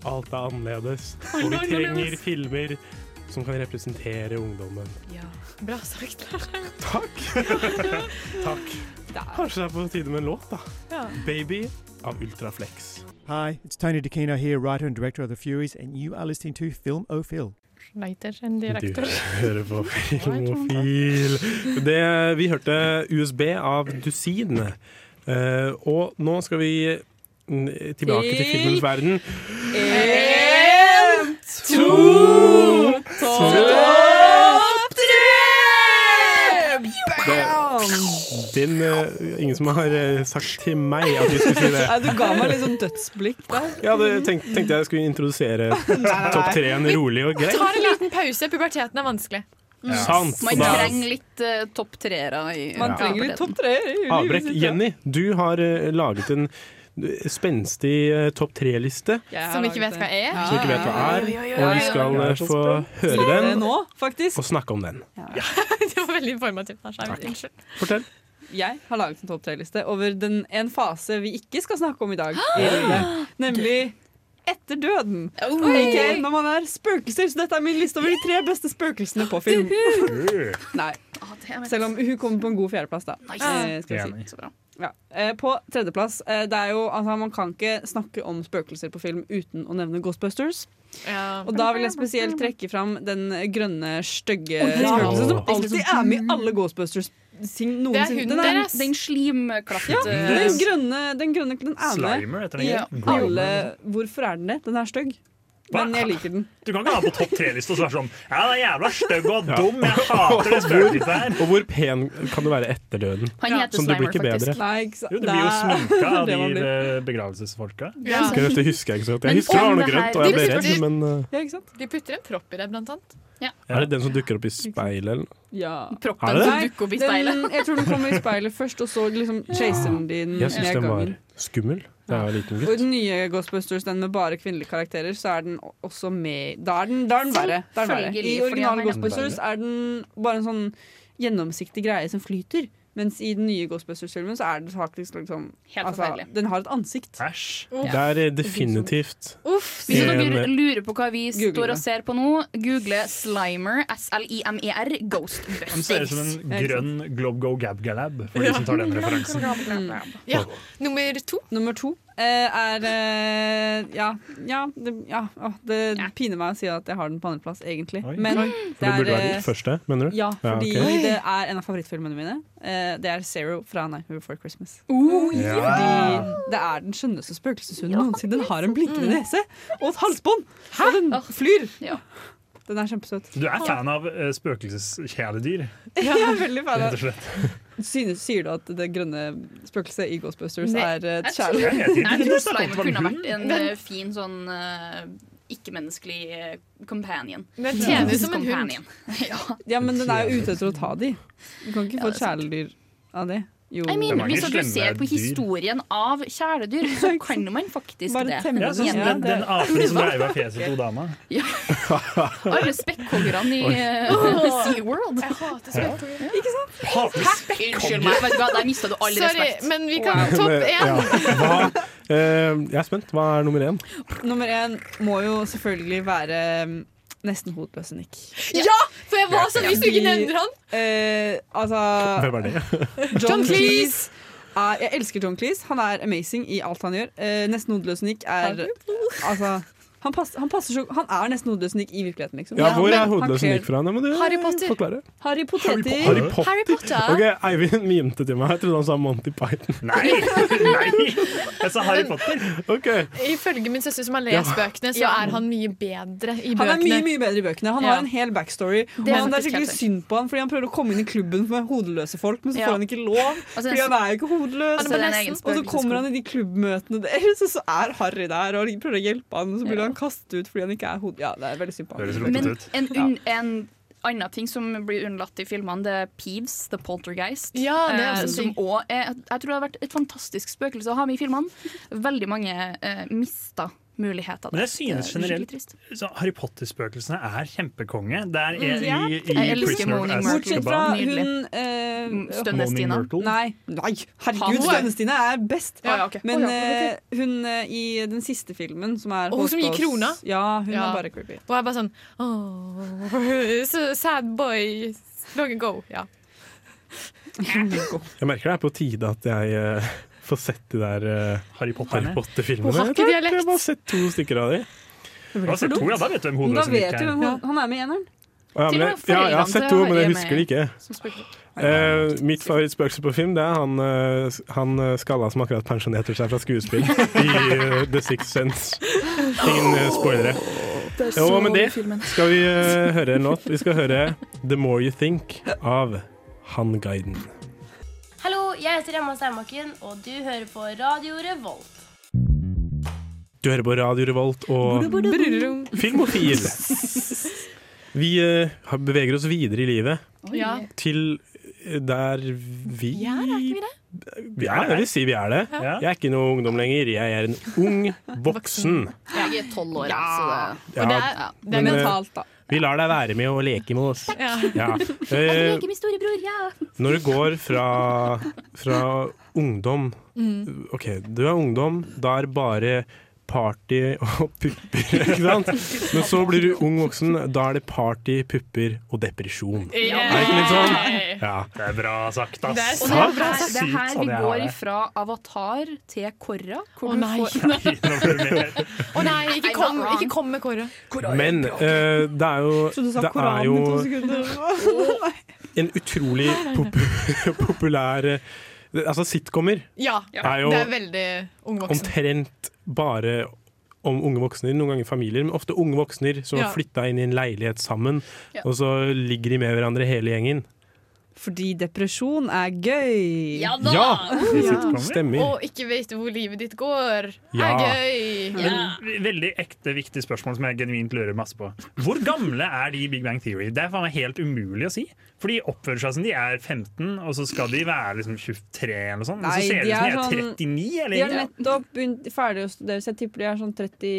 S7: Alt er annerledes. Og vi
S9: Alt er
S7: trenger
S9: annerledes.
S7: filmer som kan representere ungdommen.
S9: Ja. Bra sagt.
S7: Takk. Takk. Kanskje det er på tide med en låt, da.
S9: Ja.
S7: 'Baby' av Ultraflex.
S15: Hi, it's Tony DeCino here, writer and director of The Furies, and you are listening to Film O'Phil.
S9: Leiter en
S7: Du
S9: direktør.
S7: hører på Filmofil. Det, vi hørte USB av Dusin. Eh, og nå skal vi mm, tilbake til filmens verden.
S5: En, to, topp tre!
S7: Det, den, eh, ingen som har eh, sagt til meg at vi skulle si det.
S4: Nei, du ga meg litt sånn dødsblikk der.
S7: Jeg hadde tenkt, tenkte jeg skulle introdusere topp tre-en rolig og
S9: Vi
S7: greit.
S9: tar en liten pause. Puberteten er vanskelig.
S7: Ja. Sant,
S5: Man
S7: og da-
S5: trenger litt uh, topp treere i
S4: Man trenger litt topp treere i
S7: Avbrekk. Jenny, du har eh, laget en spenstig eh, topp tre-liste.
S9: Som vi ikke vet hva er.
S7: Som vi ikke vet hva
S5: Ah,
S7: er, og vi skal eh, få høre den
S4: Eh, Nå,
S7: og snakke om den.
S9: Det var veldig informativt. Lars. Jeg vet, Unnskyld.
S7: Fortell.
S4: Jeg har laget en topp tre-liste over den, en fase vi ikke skal snakke om i dag. i livet, Nemlig etter døden.
S5: Oi.
S4: Ok, når man er spøkelser, så dette er min liste over de tre beste spøkelsene på film. Nei. Selv om hun kommer på en god fjerdeplass, da.
S10: Ah.
S4: Eh, skal jeg si.
S1: Enig.
S4: Ja. Eh, på tredjeplass eh, det er jo, altså, Man kan ikke snakke om spøkelser på film uten å nevne Ghostbusters. Og da vil jeg spesielt trekke fram den grønne, stygge
S10: Å, ja.
S4: spøkelsen som
S10: Åh.
S4: alltid er med i alle Ghostbusters. Sing,
S10: Det er hunden deres. Den
S4: slimklappet ja,
S10: eh,
S4: den, grønne, den grønne den er med.
S1: Slimer heter den
S4: i
S1: ikke? Grimer.
S4: alle, Hvorfor er den det? Den er stygg. Men jeg liker den.
S1: Du kan ikke ha på topp tre-lista og være sånn Ja, den er jævla stygg og dum, jeg hater det
S7: Hvor,
S1: spøkelset her.
S7: og hvor pen kan du være etter døden? Som det blir ikke bedre.
S1: Jo, det blir jo sminka av de
S4: Det var det.
S1: eh, begravelsesfolka.
S9: Ja.
S7: Skal jeg- Dette husker jeg ikke så godt. Jeg
S9: Men
S7: husker det var
S9: om
S7: noe
S9: det
S7: grønt,
S9: her-
S7: og jeg ble
S9: De
S7: redd,
S9: putter-
S7: men eh,
S9: De putter en propp i det, blant annet.
S7: er det den som dukker opp i speilet, eller?
S4: Ja.
S7: Er det det?
S9: dukker opp i
S4: Den, jeg tror den kommer i speilet først, og så liksom chaser den din
S7: Jeg syns
S4: ned
S7: den var
S4: gangen.
S7: skummel da jeg var liten
S4: Og i
S7: gutt.
S4: den nye Ghostbusters, den med bare kvinnelige karakterer, så er den o- også med Da er den, da er den verre. Da er den verre.
S5: Selvfølgelig, fordi
S4: I
S5: han er
S4: originale
S5: nesten-
S4: Ghostbusters er den bare en sånn gjennomsiktig greie som flyter. Mens i den nye Ghostbusters-filmen så er det faktisk liksom
S10: Helt forferdelig.
S4: Den har et ansikt.
S10: Uff.
S7: Det er eh, definitivt
S10: Uff, Hvis
S7: En-
S10: dere lurer på hva vi
S7: Google
S10: står og
S7: det.
S10: ser på nå, google Slimer, S-L-I-M-E-R, E Ghostbusters.
S1: Han ser ut som en
S10: Ja, ikke sant?
S1: grønn glob-go-gab-galab, for de som tar den referansen.
S10: Mm.
S9: Ja. Nummer to.
S4: Nummer to eh, er eh, Ja, ja, det, ja å, det piner meg å si at jeg har den på andreplass, egentlig. Men
S7: Oi. For det burde være
S4: eh,
S7: den første, mener du?
S4: Ja, fordi
S7: ok.
S4: det er en av favorittfilmene mine. Eh, Det er Zero fra Nightmare Before Christmas.
S7: ja!
S4: Fordi det er den skjønneste spøkelseshunden noensinne. Den har en blinkende nese og et halsbånd, og den flyr! Den er kjempesøt.
S1: Du er fan av eh, spøkelseskjæledyr,
S4: Ja, jeg er veldig fan
S1: rett
S4: av
S1: og slett.
S4: Synes, Sier du at det grønne spøkelset i Ghostbusters
S10: Nei,
S4: er eh, et
S10: jeg tror-
S4: kjæledyr?
S10: Jeg tror Slimer kunne ha vært en eh, fin sånn eh, ikke-menneskelig eh, companion.
S9: Den tjener som en hund.
S10: Companion. ja.
S4: Ja, men den er jo ute etter å ta de. Du kan ikke få et kjæledyr av det. Jo.
S10: Jeg mener, hvis du ser på historien av kjæledyr, så kan man faktisk
S4: Bare
S10: det.
S4: temme
S1: Ja, sånn som den, den apen som reiv av fjeset til dama.
S10: Alle spekkhoggerne i
S1: Oi.
S10: eh, SeaWorld. Jeg
S9: hater
S10: spekkhoggere.
S9: Ikke sant?
S10: Unnskyld meg, vet du hva, der mista du all
S9: Sorry,
S10: respekt.
S9: men vi kan
S7: Men,
S9: topp
S7: eh,
S9: én.
S7: ja. Hva- eh, Jeg er spent. Hva er nummer én?
S4: Nummer én må jo selvfølgelig være mm, nesten hodeløse Nick.
S9: Ja! For jeg var sånn hvis du
S4: Fordi,
S9: ikke nevner han.
S4: eh, altså
S7: Hvem er det?
S4: John
S9: John
S4: Cleese! Er, jeg elsker John Cleese. Han er amazing i alt han gjør. Eh, nesten hodeløs Nick er Altså han, pass, han, passer så, han er nesten hodeløs Nick i virkeligheten, liksom.
S7: Ja, hvor
S4: men
S7: er
S4: han
S7: hodeløs
S4: kler-
S7: Nick fra? Nei, men du,
S4: Harry Potter.
S7: Forklare.
S4: Harry Poteter.
S7: Harry Potter. Ok, Eivind mimte til meg. Jeg trodde han sa Monty Python.
S1: Nei! Nei! Jeg sa Harry Potter.
S7: Ok.
S9: Ifølge min søster som har
S7: Ja.
S9: lest bøkene, så
S4: Ja.
S9: er han mye bedre i bøkene.
S4: Han er mye mye bedre i bøkene. Han
S9: Ja.
S4: har en hel backstory.
S9: Det
S4: Det er,
S9: er
S4: det er
S9: faktisk helt
S4: skikkelig
S9: sant.
S4: synd på han fordi han prøver å komme inn i klubben med hodeløse folk, men så
S9: Ja.
S4: får han ikke lov.
S9: Altså, det er
S4: fordi han
S9: så-
S4: er jo ikke hodeløs.
S9: Han er på Altså, det er en nesten. egen
S4: og så kommer
S9: spøkelsesklubb.
S4: han i de klubbmøtene deres, og så er Harry der og de prøver å hjelpe han, og så blir han kastet ut fordi han ikke er hode... Ja, det er veldig synd på han.
S10: Men en, unn- en annen ting som blir unnlatt i filmene, det er Peeves, The Poltergeist.
S9: Ja, det er
S10: eh,
S9: også
S10: som
S9: sykt.
S10: også er, jeg tror det har vært et fantastisk spøkelse å ha med i filmene. Veldig mange eh, mista muligheter.
S1: Men
S10: der.
S1: jeg synes
S10: Det er skikkelig
S1: generelt
S10: trist.
S1: så Harry Potter-spøkelsene er kjempekonge. Det er
S10: Mm,
S1: i,
S10: ja.
S1: i, i
S10: Jeg elsker
S1: Prisoner of
S10: Moaning Myrtle.
S1: Azkaban.
S4: Bortsett fra
S10: Nydelig.
S4: hun eh,
S10: Stønne-Stina. Moaning Myrtle?
S4: Nei, nei, herregud,
S10: Ha, hun Mm, er-
S4: Stønne-Stina er best.
S10: Ja, ja, ok.
S4: Men
S10: Å, ja, ok.
S4: eh, hun eh, i den siste filmen, som er
S9: Og hun som gir
S4: Hostos-
S9: krona?
S4: Ja, hun
S9: Ja.
S4: er bare creepy.
S9: Og jeg bare sånn «Åh, så Sad boy. Long ago. Ja.
S7: Jeg merker det er på tide at jeg eh, får sett de der eh, Harry
S1: Potter-ene.
S7: Potter-filmene.
S9: Hun har
S7: Jeg
S9: ikke
S7: tror
S9: dialekt.
S7: Jeg har bare sett to stykker av de.
S1: Da ser to, ja, da vet du hvem
S4: Men da
S1: hodeløse
S4: vet
S1: Nick
S4: du
S1: er.
S4: hvem han- han er med i eneren.
S7: Ja,
S16: Til og
S7: men,
S16: med
S7: jeg- ja, jeg har
S16: foreldrene
S7: sett
S16: til
S7: to, men
S16: Harry er
S7: jeg husker det
S16: med
S7: ikke.
S16: som spøker.
S7: Eh, mitt favorittspøkelse på film Det er han, eh, han eh, skalla som akkurat pensjonerte seg fra skuespill i eh, The Sixth Sense. Ingen eh, spoilere.
S16: Det er
S7: Jo,
S16: så
S7: men det
S16: filmen.
S7: skal vi eh, høre en låt. Vi skal høre The More You Think av Han Guiden.
S17: Hallo, jeg heter Emma Steinbakken, og du hører på Radio Revolt.
S7: Du hører på Radio Revolt og Filmofil. Vi eh, har- beveger oss videre i livet
S9: Ja.
S7: til eh, der vi
S9: Ja, er ikke vi det?
S7: Ja, jeg vil si vi er det.
S9: Ja.
S7: Jeg er ikke noe ungdom lenger. Jeg er en ung voksen.
S5: Jeg er tolv år, så det,
S7: Ja, Og det er- det er men, eh, mentalt,
S5: da.
S7: Vi lar deg være med og leke med oss.
S5: Ja.
S7: Ja. Eh,
S5: min storebror, ja.
S7: når du går fra, fra ungdom
S5: Mm.
S7: OK, du er ungdom, da er det bare party og pupper, ikke sant? Men så blir du ung voksen, da er det party, pupper og depresjon. Er det ikke litt sånn? Ja.
S1: Det er bra sagt, ass.
S10: Og det er her, det er her vi går ifra Avatar til Korra. Hvor du
S9: nei.
S10: får-
S9: Å nei, ikke kom, ikke kom med Kåre.
S7: Men eh, det er jo, det er jo en utrolig popu- populær eh, Altså sitcomer
S9: Ja,
S7: er jo
S9: det er veldig ung voksen.
S7: omtrent bare om unge voksne, noen ganger familier, men ofte unge voksne som
S9: Ja.
S7: har flytta inn i en leilighet sammen,
S4: Ja.
S7: og så ligger de med hverandre hele gjengen.
S4: Fordi depresjon er gøy.
S9: Ja
S7: da! Ja, det sitter- stemmer.
S9: Og ikke vite hvor livet ditt går.
S1: Ja.
S9: Er gøy.
S1: Men veldig ekte, viktig spørsmål som jeg genuint lurer masse på. Hvor gamle er de i Big Bang Theory? Det er faen meg helt umulig å si. For de oppfører seg som de er 15, og så skal de være liksom 23 eller noe sånt. Og så
S4: Nei,
S1: ser
S4: de
S1: det ut som
S4: er
S1: de er
S4: sånn-
S1: 39
S4: De har
S1: eller
S4: nettopp begynt, ferdig å studere, så jeg tipper de er sånn 30,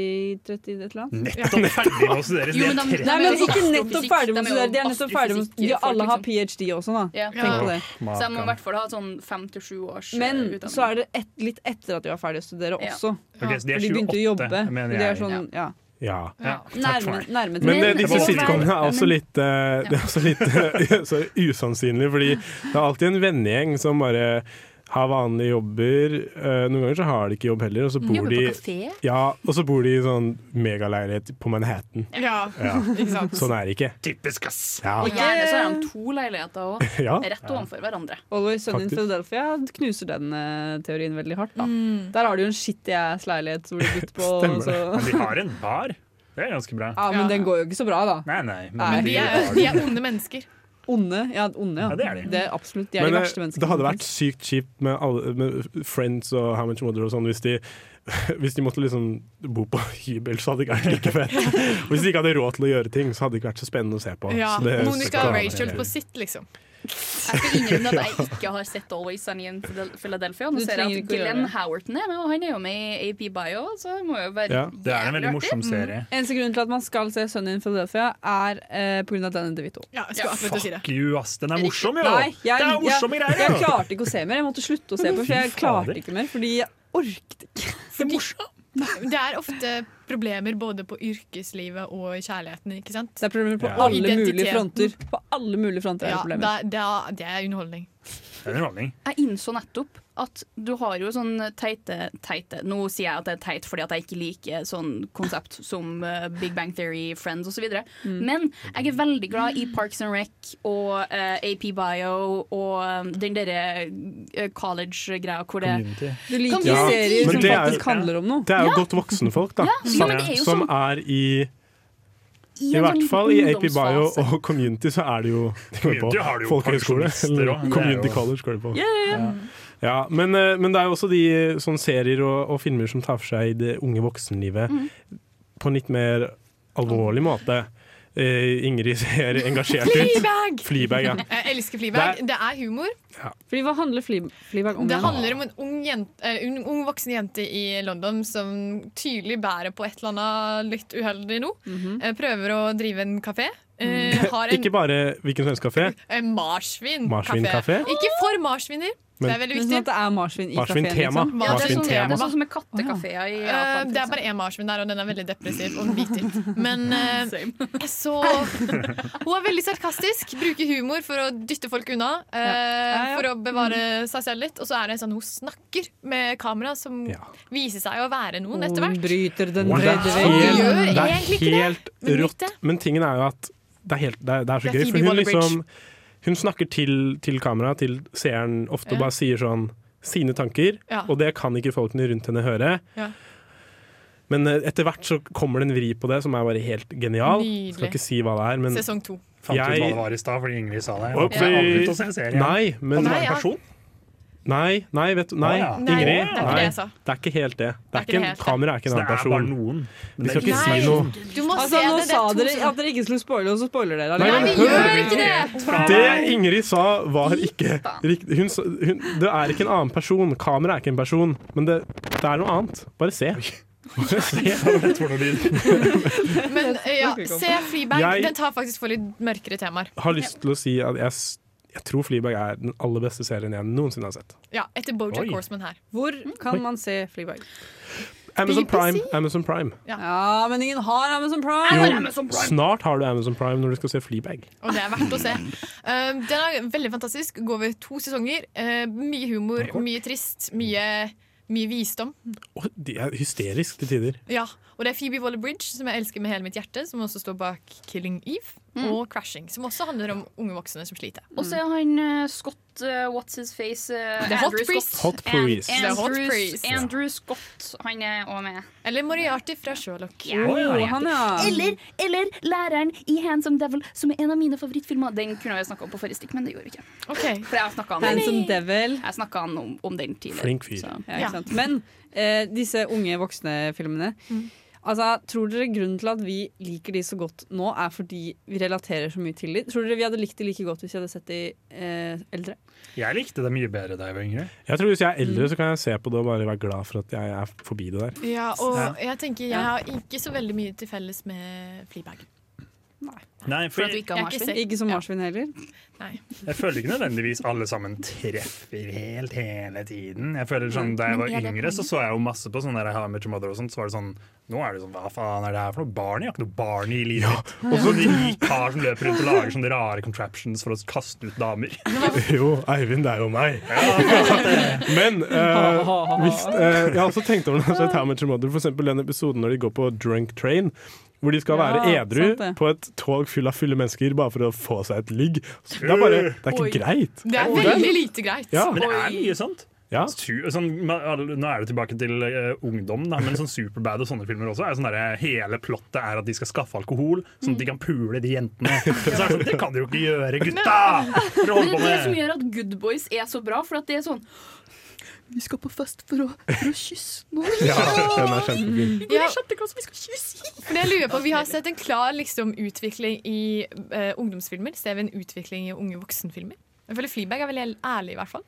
S4: 30 et eller annet.
S1: Nettopp ferdig med å studere. så de
S4: Jo,
S1: er
S4: men de-
S1: 30.
S4: Nei, men ikke nettopp
S10: astrofysikk,
S4: ferdig med å
S10: de er jo
S4: studere. De er nettopp ferdig med å
S10: astrofysikk,
S4: studere.
S10: folk, liksom.
S4: Alle har ph.d. også, da.
S10: Ja.
S4: Tenk på det.
S10: Så jeg må i hvert fall ha sånn fem til sju års eh,
S4: Men
S10: utdanning.
S4: så er det et, litt etter at de var ferdig å studere
S10: Ja.
S4: også.
S10: Ok, så de er
S4: For de begynte å
S10: 28,
S4: jobbe.
S10: mener
S4: De er
S10: jeg.
S4: sånn, ja.
S7: Ja.
S4: Ja. Nærme, nærme
S7: Men eh, disse
S4: Men-
S7: sitcomene er også litt, eh, det er også litt eh, så usannsynlige, fordi det er alltid en vennegjeng som bare har vanlige jobber. eh, Noen ganger så har de ikke jobb heller, og så
S9: Mm.
S7: bor
S9: Jobber
S7: de
S9: på kafé.
S7: Ja, og så bor de i sånn megaleilighet på Manhattan.
S9: Ja, ikke sant.
S7: Sånn er det ikke.
S1: Typisk, ass!
S7: Ja.
S10: Og gjerne så har de to leiligheter også,
S7: Ja.
S10: rett ovenfor hverandre.
S4: Always Sun in
S7: Faktisk.
S4: Philadelphia knuser den eh, teorien veldig hardt. Da. Der har du jo en shitty ass leilighet som blir bytt på. og
S1: Men
S4: så-
S1: de har en bar. Det er ganske bra.
S4: Ja, Men den går jo ikke så bra, da.
S1: Nei, nei.
S4: Nei.
S1: Men de
S9: er- de er onde mennesker.
S4: Onde, ja, onde, ja.
S1: Ja, det er de.
S4: absolutt. De er de
S7: eh,
S4: verste menneskene.
S7: det hadde
S4: som
S7: vært sykt kjipt med, alle, med Friends og How Much Mother og sånn hvis de, hvis de måtte liksom bo på hybel, så hadde det ikke vært like fett. Og hvis de ikke hadde råd til å gjøre ting, så hadde det ikke vært så spennende å se på.
S9: Ja.
S7: Så det-
S9: Monica
S7: så-
S9: og Rachel på sitt, liksom.
S10: Jeg skal innrømme at jeg ikke har sett Always Sunny in Phil- Philadelphia. Nå
S4: Du
S10: ser jeg
S4: trenger
S10: at
S4: ikke å gjøre
S10: Glenn
S4: det.
S10: Howerton er med, og han er jo med i AP Bio, så det må jo være
S1: Ja, det er en veldig
S10: jævlig
S1: morsom
S10: artig. Mm.
S1: serie.
S4: Eneste grunnen til at man skal se Sunny in Philadelphia, er eh, pga. Danny DeVito.
S9: Ja,
S1: jeg skulle akkurat til å si det. Fuck you, ass. Den er morsom, jo!
S4: Nei, jeg,
S1: det er morsomme
S4: jeg,
S1: greier,
S4: jeg
S1: jo.
S4: klarte ikke å se mer. Jeg måtte slutte å se på, for
S1: Fy
S4: jeg
S1: fader.
S4: klarte ikke mer. Fordi jeg orket ikke.
S9: Det er ofte problemer både på yrkeslivet og i kjærligheten, ikke sant?
S4: Det er problemer på
S9: Ja.
S4: alle mulige
S9: Identiteten.
S4: fronter. På alle mulige fronter er det
S9: Ja,
S4: problemer.
S9: da, da, det er underholdning.
S1: Det er underholdning.
S10: Jeg innså nettopp at du har jo sånn teite, teite Nå sier jeg at det er teit fordi at jeg ikke liker sånn konsept som eh, Big Bang Theory, Friends osv. videre
S4: Mm.
S10: Men jeg er veldig glad i Parks and Rec og eh, AP Bio og eh, den derre eh, college-greia hvor det
S7: Community.
S4: Du liker
S7: Ja,
S4: serier
S7: men
S4: som
S7: det er-
S4: faktisk handler om noe.
S7: Det er jo
S4: Ja.
S7: godt voksenfolk, da.
S4: Ja, ja,
S7: som,
S4: men det er jo
S7: som
S4: sånn-
S7: er i
S4: I
S7: i,
S4: en
S7: hvert
S4: sånn
S7: fall i AP Bio
S4: ungdomsfase.
S7: og Community så er det jo de går
S1: Community har du jo
S7: folkehøyskole.
S1: pensjonister
S7: Eller
S1: også, det er
S7: Community
S1: jo-
S7: College går det på.
S1: Ja, ja, ja.
S7: Ja, men, eh, men det er jo også de eh, sånn serier og, og filmer som tar for seg det unge voksenlivet
S1: Mm.
S7: på en litt mer alvorlig måte. Eh, Ingrid ser engasjert ut.
S9: Fleabag!
S7: Fleabag, ja.
S9: Jeg elsker Fleabag.
S7: Det
S9: Det er humor.
S4: Fordi hva handler Fleabag om?
S9: Det
S4: igjen?
S9: handler om en ung, jente, eller en ung voksen jente i London som tydelig bærer på et eller annet litt uheldig nå.
S1: Mhm.
S9: Eh, Prøver å drive en kafé. Eh, Har en,
S7: Ikke bare hvilken svensk kafé.
S9: en Eh, marsvin
S7: Marsvinkafé?
S9: Ikke for marsviner.
S7: Men-
S9: det er veldig
S4: Men
S9: viktig.
S4: sånn at det er marsvin i kafeen?
S7: Marsvintema.
S4: Liksom.
S7: Ja, det er sånn- Marsvintema. det er sånn
S10: som med kattekaféer i
S9: Eh, det er bare én marsvin der, og den er veldig depressiv og hvit. Men eh, så Hun er veldig sarkastisk, bruker humor for å dytte folk unna. eh, For å bevare seg selv litt. Og så er det sånn hun snakker med kamera, som viser seg å være noen etter
S4: Hun
S9: hvert.
S4: bryter den
S7: Wow.
S4: tredje
S7: Det er
S4: veggen.
S9: gjør
S7: helt, det
S9: egentlig
S7: er
S9: ikke det,
S7: helt
S9: men litt
S7: rått. Men tingen er jo at det er, helt, det er, det er så
S16: Det er
S7: gøy.
S16: Phoebe
S7: For hun,
S16: Waller-Bridge.
S7: liksom, hun snakker til, til kamera, til seeren, ofte
S9: Ja.
S7: og bare sier sånn sine tanker.
S9: Ja.
S7: Og det kan ikke folkene rundt henne høre.
S9: Ja.
S7: Men eh, etter hvert så kommer det en vri på det som er bare helt genial.
S9: Nydelig.
S7: Skal ikke si hva det er, men
S9: Sesong to.
S1: Fant ut hva det var i stad fordi Ingrid sa det. Jeg
S7: Opp,
S1: har aldri begynt å se
S7: vi-
S1: serien.
S7: Nei, men
S1: At det var
S9: Nei,
S1: en
S9: ja.
S1: person?
S7: Nei, nei, vet du, nei,
S1: Å, ja.
S9: Nei, det er
S7: Ingrid.
S9: ikke det
S7: nei.
S9: jeg sa.
S7: det er ikke helt det. Det er
S9: ikke
S7: ikke en,
S9: helt det.
S7: kamera er ikke en
S1: Så det
S7: annen
S1: er
S7: person.
S1: bare noen.
S7: Vi skal ikke si noe.
S9: Du må
S4: altså,
S9: se
S4: nå
S9: det, det er
S4: sa
S9: to
S4: dere
S9: sesonger.
S4: at dere ikke skulle spoile, og så spoiler
S7: Nei,
S4: dere.
S9: Nei,
S7: men
S9: vi
S7: hør!
S9: gjør ikke det!
S7: Det Ingrid sa var ikke riktig. Hun, sa- hun, det er ikke en annen person. Kamera er ikke en person. Men det, det er noe annet. Bare se. Bare se.
S9: Men ja, se Fleabag.
S7: Jeg-
S9: Den tar faktisk for litt mørkere temaer.
S7: Har lyst til å si at jeg, s- jeg tror Fleabag er den aller beste serien jeg noensinne har sett.
S9: Ja, etter Bojack
S7: Oi.
S9: Horseman her.
S4: Hvor
S9: Mm?
S7: Oi.
S4: kan man se Fleabag?
S7: Amazon
S4: BBC?
S7: Prime. Amazon Prime.
S4: Ja. men ingen har Amazon Prime!
S7: snart har du Amazon Prime når du skal se Fleabag.
S9: Og det er verdt å se. Eh, den er veldig fantastisk. Går over to sesonger. Eh, mye humor, mye trist, mye, mye visdom.
S7: Å, de er hysterisk til tider.
S9: Ja, Og det er Phoebe Waller-Bridge, som jeg elsker med hele mitt hjerte, som også står bak 'Killing Eve' og 'Crashing', som også handler om unge voksne som sliter.
S10: Og så er han eh, Scott eh, What's his face? eh,
S9: Det er hot
S10: Andrew
S9: priest.
S10: Scott.
S7: Hot priest.
S10: And,
S9: Det er hot
S10: Andrew-
S9: priest.
S10: Andrew Scott, han er òg med.
S9: Eller Moriarty fra Sherlock.
S10: Eller, eller læreren i Handsome Devil, som er en av mine favorittfilmer. Den kunne jeg snakka om på forrige stikk, men det gjorde vi ikke. For jeg snakket om
S4: Handsome
S10: den.
S4: Devil.
S10: Jeg snakka om, om den tidligere.
S7: Flink fyr.
S10: så-
S4: Ja, ikke sant? Men eh, disse unge voksne-filmene altså, Tror dere grunnen til at vi liker de så godt nå, er fordi vi relaterer så mye til de? Tror dere vi hadde likt de like godt hvis vi hadde sett de eh, eldre?
S1: Jeg likte det mye bedre da jeg var yngre.
S7: Jeg tror Hvis jeg er
S4: Mm.
S7: eldre, så kan jeg se på det og bare være glad for at jeg er forbi det der.
S9: Ja,
S1: Ja.
S9: og jeg tenker jeg
S1: Ja.
S9: har ikke så veldig mye til felles med Fleabag.
S1: Nei, for
S9: For at vi
S1: jeg,
S9: ikke har marsvin?
S4: Ikke, som marsvin heller.
S9: Nei.
S1: jeg føler ikke nødvendigvis alle sammen treffer helt hele tiden. Jeg føler sånn, Da jeg
S9: Mm, Men
S1: var
S9: er det
S1: yngre, så
S9: poenget?
S1: så jeg jo masse på sånn der How I Met Your Mother og sånt. Så var det sånn Nå er det sånn Hva faen er det her for noe barn? Jeg har ikke noe barn i livet mitt. Og så en rik kar som løper rundt og lager sånne rare contraptions for å kaste ut damer.
S7: Jo, Eivind, det er jo meg. Men eh, hvis, eh, jeg har også tenkt over det når jeg har sett How Much Your Mother, for eksempel den episoden når de går på drunk train. Hvor de skal
S16: Ja,
S7: være
S16: sant
S7: edru
S16: det.
S7: på et tog full av fulle mennesker bare for å få seg et ligg. Så Det er bare, det er ikke
S9: Oi.
S7: greit.
S9: Det er veldig lite greit.
S7: Ja.
S1: Men det er
S9: Oi.
S1: mye sånt. Su- Sånn, man- al- nå er det tilbake til eh, ungdom, da, men sånn Superbad og sånne filmer også. Er sånn derre- hele plottet er at de skal skaffe alkohol, sånn
S9: Mm.
S1: at de kan pule de jentene. Så er det, sånn, det kan de jo ikke gjøre, gutta! For å
S10: Men
S1: holde på
S10: det er det som
S1: med
S10: gjør at Good Boys er så bra, for at det er sånn Vi skal på fest for å, for å kysse noen.
S7: Ja, den er kjempefin.
S10: Vi går i sjette klasse, vi skal kysse.
S9: Men jeg lurer på, Vi har sett en klar liksom, utvikling i eh, ungdomsfilmer. Ser vi en utvikling i unge voksenfilmer? Jeg føler Fleabag er veldig ærlig, i hvert fall.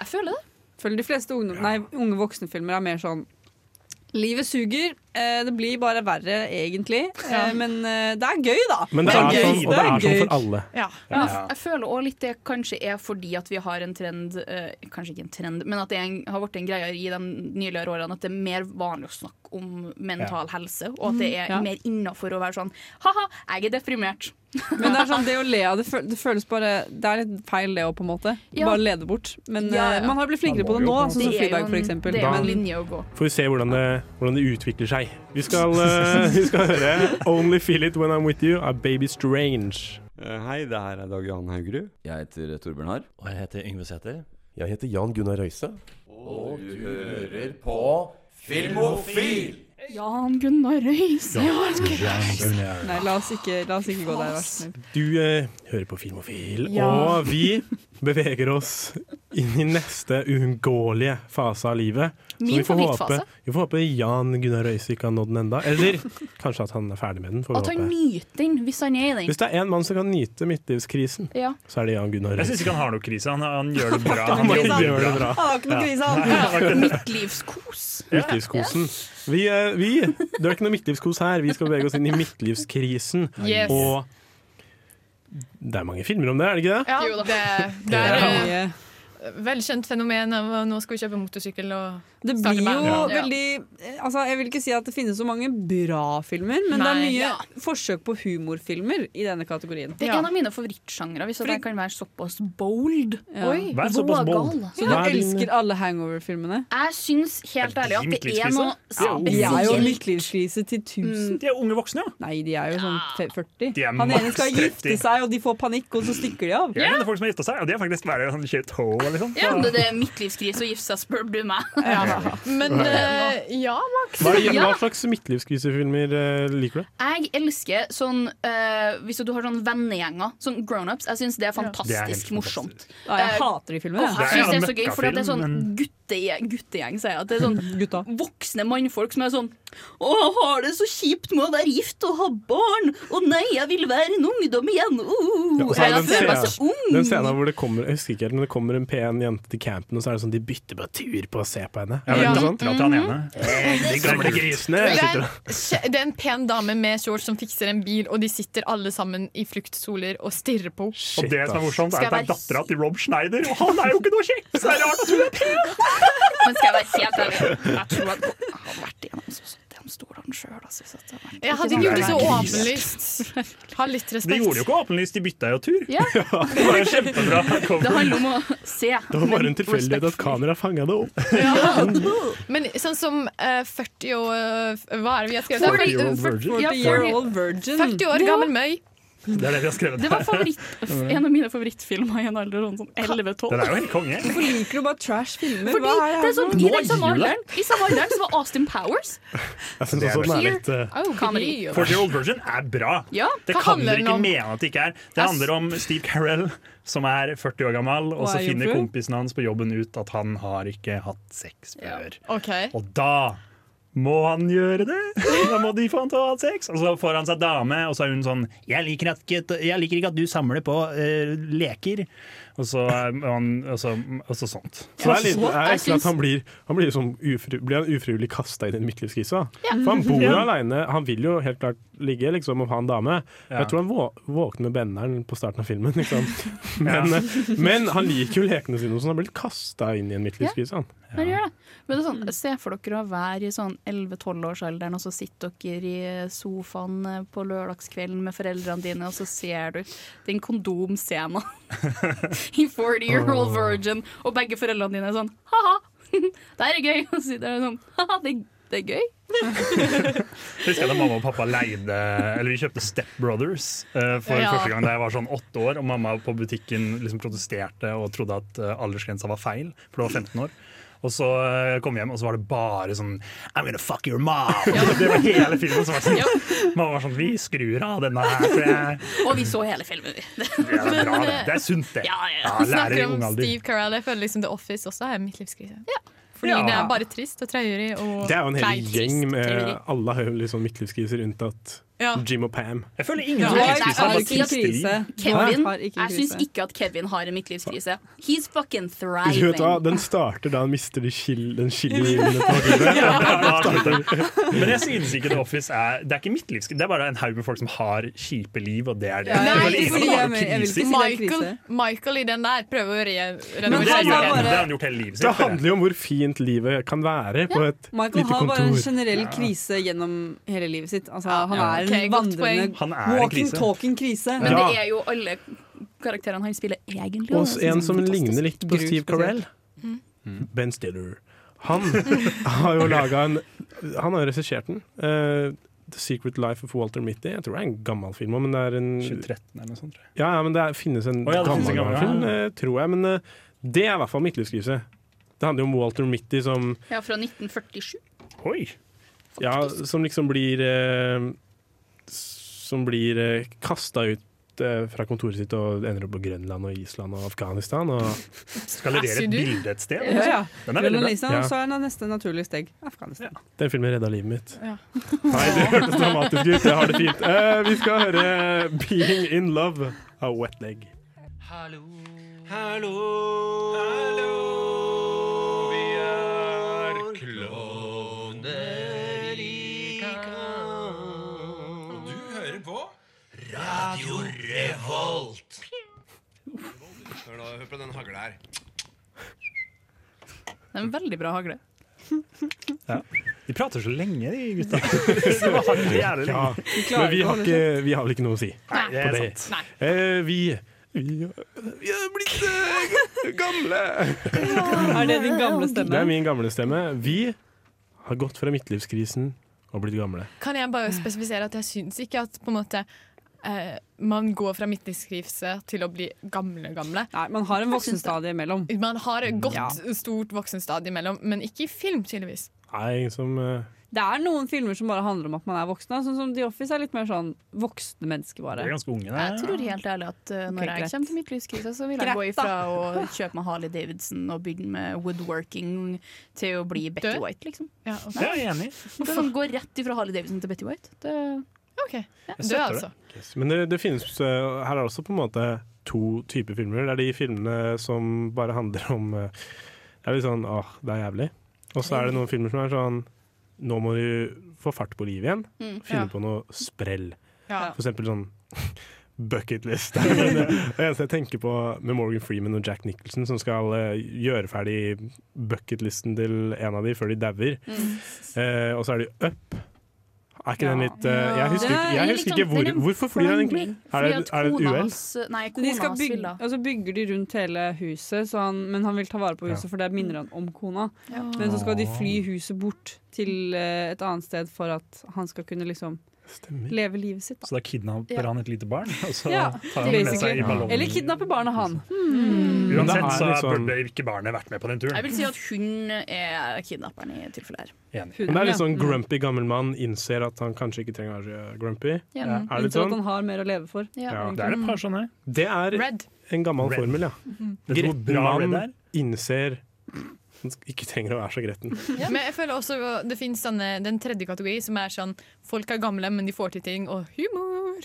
S10: Jeg føler det.
S4: Føler de fleste ungdom, nei, unge voksne-filmer er mer sånn Livet suger. Eh, det blir bare verre, egentlig. Eh, men eh, det er gøy, da.
S7: Men det er
S4: gøy.
S7: sånn, og det er sånn
S4: gøy.
S7: for alle.
S10: Men
S7: Ja.
S10: jeg, jeg føler også litt det kanskje er fordi at vi har en trend eh, Kanskje ikke en trend, men at det er en, har blitt en greie i de nyligere årene at det er mer vanlig å snakke om mental helse, og at det er
S4: Mm, Ja.
S10: mer innafor å være sånn Ha-ha, jeg er deprimert.
S4: Men det er sånn, det å le av det, føl- det føles bare Det er litt feil, det òg, på en måte.
S10: Ja.
S4: Bare lede bort. Men
S10: Ja, ja.
S4: eh, man har blitt flinkere
S10: Man
S4: på
S10: må
S4: det
S10: jo
S4: nå,
S10: på en
S4: sånn som
S10: måte. Det er jo
S4: Fleabag, for
S10: en-
S4: eksempel.
S10: det er jo en
S4: Men-
S10: linje å gå.
S7: Får vi se hvordan det, hvordan det utvikler seg. Vi skal, eh, vi skal høre 'Only Feel It When I'm With You' av Baby Strange.
S18: Hei, det her er Dag Johan Haugerud. Jeg heter Torbjørn Harr. Og jeg heter Yngve Sæther.
S19: Jeg heter Jan Gunnar Røise.
S18: Og du hører
S19: på Filmofil!
S10: Jan Gunnar Røise.
S4: Nei, la oss ikke, la oss ikke gå der. vær så snill.
S7: Du eh, hører på Filmofil,
S4: Ja.
S7: og vi beveger oss inn i neste uunngåelige fase av livet. Så
S10: Min
S7: vi får
S10: favorittfase.
S7: håpe- Vi får håpe Jan Gunnar Røise ikke har nådd den enda Eller kanskje at han er ferdig med den. Får
S10: At
S7: vi
S10: han
S7: håpe.
S10: nyter den, hvis han er i
S7: Hvis
S10: den.
S7: det er én mann som kan nyte midtlivskrisen,
S10: Ja.
S7: så er det Jan Gunnar
S1: Jeg
S7: Røise.
S1: syns ikke han har noe krise. Han, han gjør det bra.
S7: Han gjør det bra.
S1: Han har ikke noe krise,
S10: altså.
S1: han. Ja. Nei, han har ikke-
S10: Midtlivskos.
S7: Midtlivskosen. Vi, eh, vi, det er ikke noe midtlivskos her. Vi skal bevege oss inn i midtlivskrisen.
S9: Yes.
S7: Og det er mange filmer om det, er det ikke det?
S9: Ja, det, det er
S7: Ja.
S9: eh, velkjent fenomen av å nå skal vi kjøpe motorsykkel og
S4: Det
S9: Starter
S4: blir
S9: med-
S4: jo
S9: Ja.
S4: veldig eh, altså, Jeg vil ikke si at det finnes så mange bra filmer, men det er
S10: Nei.
S4: mye
S10: Ja.
S4: forsøk på humorfilmer i denne kategorien.
S10: Det er en av mine favorittsjangre, hvis jeg kan være såpass bold. Oi,
S4: Vær såpass bold.
S10: vågal.
S4: Så du elsker alle hangover-filmene?
S10: Jeg syns helt ærlig at det er noe
S4: De er jo
S10: spesielt
S4: midtlivskrise til
S10: Mm.
S4: tusen.
S1: De er unge voksne, ja.
S4: Nei, de er jo sånn fe- 40.
S1: De er
S4: Han ene
S1: maks
S4: skal
S1: 30.
S4: gifte seg, og de får panikk, og så stikker de av.
S1: Jeg kjenner folk som har gifta seg, og de har faktisk vært sånn shithole, liksom.
S10: Ja, det, det er midtlivskrise og gifte seg, spør du meg.
S9: Men eh, ja, Max.
S7: Hva, er-
S10: Ja.
S7: hva slags midtlivskrisefilmer eh, liker du?
S10: Jeg elsker sånn eh, Hvis du har sånn vennegjenger, sånn grownups, jeg syns det er
S7: Det er helt fantastisk.
S10: fantastisk morsomt.
S4: Ja, jeg
S10: Eh,
S4: hater de filmene,
S10: åh,
S4: jeg.
S10: Jeg syns det er så
S4: Det er
S10: gøy, for det er
S4: møkkafilm,
S10: sånn
S4: men-
S10: guttegjeng, guttegjeng sier jeg. At det er sånn voksne mannfolk som er sånn Å, har det så kjipt med å være gift og ha barn! Å nei, jeg vil være en ungdom igjen!
S7: Ja,
S10: Uh,
S7: og så er det
S10: jeg føler meg
S7: den,
S10: så ung!
S7: scenen, den scenen hvor det kommer Jeg husker ikke helt, men det kommer en pen jente til campen, og så er det sånn de bytter bare tur på å se på henne.
S1: Ja,
S7: Er det
S1: men
S7: ikke
S1: dattera til
S10: Mm.
S1: han ene.
S7: Hey, de gamle grisene!
S9: Det
S7: sitter
S9: er,
S7: og-
S9: det er en pen dame med shorts som fikser en bil, og de sitter alle sammen i fluktsoler og stirrer på henne.
S1: Og det som er morsomt, er
S9: Skal
S1: at det er
S9: jeg
S1: dattera til Rob Schneider, og han er jo ikke noe kjekk! Så det er rart at hun er pen!
S10: Men skal jeg være helt ærlig, jeg tror at jeg har vært igjennom så den stolen sjøl, altså. hvis at jeg har vært-
S9: Jeg hadde ikke gjort det så åpenlyst. Ha litt respekt.
S1: De gjorde jo ikke åpenlyst, de bytta jo tur.
S10: Ja.
S1: det var jo kjempebra.
S10: Det handler om å se.
S7: Det var bare en tilfeldighet at kameraet fanga det opp.
S9: Men sånn som eh, 40 og eh, Hva er det vi har skrevet?
S1: 40 year old virgin.
S9: 40 år gammel møy.
S1: Det er det vi har skrevet
S10: Det var favoritt, en av mine favorittfilmer i en alder av sånn 11-12.
S1: Den er jo helt konge.
S4: Hvorfor liker du bare trash filmer?
S10: Fordi
S4: Hva er
S10: det er sånn, I
S1: Nå
S10: den samme
S1: gir du deg.
S10: alderen I samme alderen så var Austin Powers. Oh,
S1: Jeg
S7: synes også den er litt, eh,
S10: Comedy.
S1: 40 Year Old Virgin er bra.
S10: Ja,
S1: det
S10: hva
S1: kan
S10: handler
S1: dere
S10: den
S1: ikke
S10: om?
S1: mene at det ikke er. Det handler om Steve Carell som er 40 år gammel, og
S9: Og
S1: så
S9: er
S1: finner
S9: jomfru.
S1: kompisen hans på jobben ut at han har ikke hatt sex før.
S9: OK.
S1: Og da må han gjøre det! Da må de få han til å ha sex! Og så får han seg dame, og så er hun sånn 'Jeg liker, at, ikke- jeg liker ikke at du samler på eh, leker'. Og så, er han- og så, og så sånt.
S7: Så det er litt, det er egentlig at han blir, han blir, liksom ufri, blir han ufrivillig kasta inn i en midtlivskrise. da.
S1: Ja.
S7: For han bor jo
S1: Ja.
S7: aleine. Han vil jo helt klart ligge liksom, og ha en dame. Og Jeg tror han vå våkner med benderen på starten av filmen. Liksom. Men,
S1: Ja.
S7: eh, men han liker jo lekene sine, så han har blitt kasta inn i en midtlivskrise. Han.
S10: Men gjør det. Men det er
S7: Mm.
S10: sånn, se for dere å være i sånn 11-12-årsalderen, og så sitter dere i eh, sofaen på lørdagskvelden med foreldrene dine, og så ser du den kondomscena i 40 Year Old
S9: Åh.
S10: Virgin, og begge foreldrene dine er sånn ha-ha, det her er gøy. Og så sitter du sånn ha-ha, det, det er gøy.
S1: Jeg husker da mamma og pappa leide Eller vi kjøpte Step Brothers eh, for
S10: Ja.
S1: første gang da jeg var sånn åtte år. Og mamma på butikken liksom protesterte og trodde at eh, aldersgrensa var feil, for det var 15 år. Og så eh, kom jeg hjem, og så var det bare sånn I'm gonna fuck your mom! Det var hele filmen. som var sånn Mamma var sånn Vi skrur av denne her. For jeg,
S10: Og vi så hele filmen, vi.
S1: det er bra, det. Det er sunt, det.
S9: eh, Ja,
S1: lærer i
S9: Snakker om
S1: ung alder.
S9: Steve Carell. Jeg føler liksom The Office også er midtlivskrise. Fordi
S7: Ja.
S9: det er bare trist og traurig og
S7: Det er jo en hel
S9: Nei,
S7: gjeng
S9: trist,
S7: med
S9: traurig.
S7: Alle har jo litt sånn midtlivskriser, unntatt
S9: Ja.
S7: Jim og Pam.
S1: Jeg føler
S10: ingen som har Ja, midtlivskrise, det er bare ikke tristeri. Kevin,
S4: har ikke
S10: jeg syns
S4: krise.
S10: ikke at Kevin har en midtlivskrise. He's fucking
S7: Du vet hva,
S10: thriving.
S7: Den starter da han mister de chili, den chilien på gulvet.
S1: Men jeg synes ikke The Office er Det er ikke mitt livs, det er bare en haug med folk som har kjipe liv, og det er det.
S9: Nei,
S1: Det er bare
S9: fordi
S1: ingen
S9: jeg-
S1: som har
S9: jeg vil ikke si det
S1: kriser.
S9: er Michael, Michael i den der prøver å re
S1: Men det,
S9: renovere
S1: gjør han,
S9: serien.
S1: det har han gjort hele livet sitt.
S7: Det handler jo om hvor fint livet kan være på et
S4: Michael
S7: lite
S4: har
S7: kontor.
S4: bare en generell krise gjennom hele livet sitt. Altså, han
S10: ja.
S4: er en
S10: Ok, godt poeng.
S7: Han er en krise.
S4: vandrende walking-talking-krise.
S10: Men det er jo alle karakterene han spiller, egentlig.
S7: Og
S10: og
S7: s-
S10: det
S7: en
S10: synes jeg
S7: som
S10: er fantastisk.
S7: ligner litt på
S10: Gru,
S7: Steve Carell.
S10: Mm.
S7: Ben Stiller. Han har jo laga en Han har jo regissert den. eh, The Secret Life of Walter Mitty. Jeg tror det er en gammel film. Men det er en
S1: 2013 eller noe sånt.
S7: Ja, ja, men det er, finnes en
S1: Å ja, det finnes
S7: gammel,
S1: en gammel,
S7: film,
S1: ja.
S7: eh, tror jeg. Men eh, det er i hvert fall midtlivskrise. Det handler jo om Walter Mitty som
S10: Ja, fra 1947.
S1: Oi.
S7: Ja, som liksom blir eh, Som blir eh, kasta ut eh, fra kontoret sitt og ender opp på Grønland og Island og Afghanistan. Og
S1: Skal levere et bilde et sted.
S4: Ja, ja.
S7: Den er veldig bra.
S4: Journalisten,
S7: Ja.
S4: Og så er det neste naturlige steg Afghanistan.
S7: Den filmen redda livet mitt. Nei, det hørtes dramatisk ut. Jeg har det fint. Eh, vi skal høre 'Being In Love' av Wet Leg.
S19: Hallo. Hallo. Vi er klovner i kamp. Og du hører på Radio Revolt. Hør, nå, hør på den hagla her.
S10: Det er en veldig bra hagle.
S1: Ja. De prater så lenge, de gutta. De var jævlig
S7: Ja,
S1: lenge.
S7: Ah, men vi har, ikke, vi har vel ikke noe å si
S1: Nei, det er
S7: på det.
S1: sant.
S7: Eh, vi, vi Vi er blitt eh, gamle!
S4: Er det din gamle stemme?
S7: Det er min gamle stemme. Vi har gått fra midtlivskrisen og blitt gamle.
S9: Kan jeg bare spesifisere at jeg syns ikke at på en måte eh, man går fra midtlivskrise til å bli gamle-gamle.
S4: Nei, Man har en voksenstadie imellom.
S9: Man har et godt,
S4: Ja.
S9: stort voksenstadie imellom, men ikke i film, tydeligvis.
S7: Nei, som eh,
S4: Det er noen filmer som bare handler om at man er voksen. da. Sånn som The Office er litt mer sånn voksne mennesker,
S7: De
S4: bare.
S7: er ganske unge, det.
S10: Jeg tror helt ærlig at uh, når
S4: Ok,
S10: jeg
S4: greit.
S10: kommer til midtlivskrise, så vil jeg
S4: Greit,
S10: gå
S4: da.
S10: ifra å kjøpe meg Harley Davidson og begynne med woodworking til å bli Betty
S9: Død?
S10: White, liksom.
S9: Ja, ok.
S10: Nei.
S9: Jeg er enig.
S10: Du kan gå rett ifra Harley Davidson til Betty White. Mm. Det,
S9: OK.
S10: ja.
S9: Død, altså.
S7: Men det, det finnes eh, Her er også på en måte to typer filmer. Det er de filmene som bare handler om eh, Det er litt sånn åh, det er jævlig. Og så er det noen filmer som er sånn Nå må du få fart på livet igjen.
S19: Mm.
S7: Finne
S19: Ja.
S7: på noe sprell.
S19: Ja.
S7: For eksempel sånn bucketlist. Det er det eneste jeg tenker på med Morgan Freeman og Jack Nicholson som skal eh, gjøre ferdig bucketlisten til en av de før de dauer. Eh, og så er det Up. Er ikke den litt eh, Jeg husker,
S10: Det er
S7: ikke- jeg
S10: litt
S7: husker
S10: sånn-
S7: ikke hvor,
S10: det er en
S7: hvorfor flyr han egentlig?
S10: forvandling.
S7: Er det,
S10: Fordi at
S7: er det et
S10: kona
S7: uhell?
S10: hans- Nei,
S4: De
S10: kona
S4: skal
S10: hans
S4: bygge,
S10: villa.
S4: og så bygger de rundt hele huset, så han, men han vil ta vare på huset,
S7: Ja.
S4: for det minner han om kona.
S10: Ja.
S4: Men så skal de fly huset bort til eh, et annet sted for at han skal kunne liksom leve livet sitt. Da.
S1: Så da kidnapper
S4: Ja.
S1: han et lite barn, og så
S4: Ja,
S1: tar han det med seg
S4: basically.
S1: i ballongen.
S4: Eller kidnappe barnet han.
S10: Men det
S1: Uansett
S10: er
S1: så
S10: liksom-
S1: burde ikke barnet vært med på den turen.
S10: Jeg vil si at hun er kidnapperen i tilfellet her.
S7: Men det er litt sånn
S10: Mm.
S7: grumpy gammel mann innser at han kanskje ikke trenger å være eh, grumpy.
S10: Ja.
S7: Er det litt
S4: Inntil at
S7: sånn?
S4: han har mer å leve for.
S7: Ja.
S1: Det er et par sånne.
S7: Det er
S4: Red.
S7: en gammel
S1: Red.
S7: formel, ja.
S1: Mhm. Vet du hvor
S7: Gretten
S1: bra Red er?
S7: mann innser han ikke trenger å være så gretten.
S9: Men jeg føler også det finnes sånne, den tredje kategori, som er sånn folk er gamle, men de får til ting, og humor.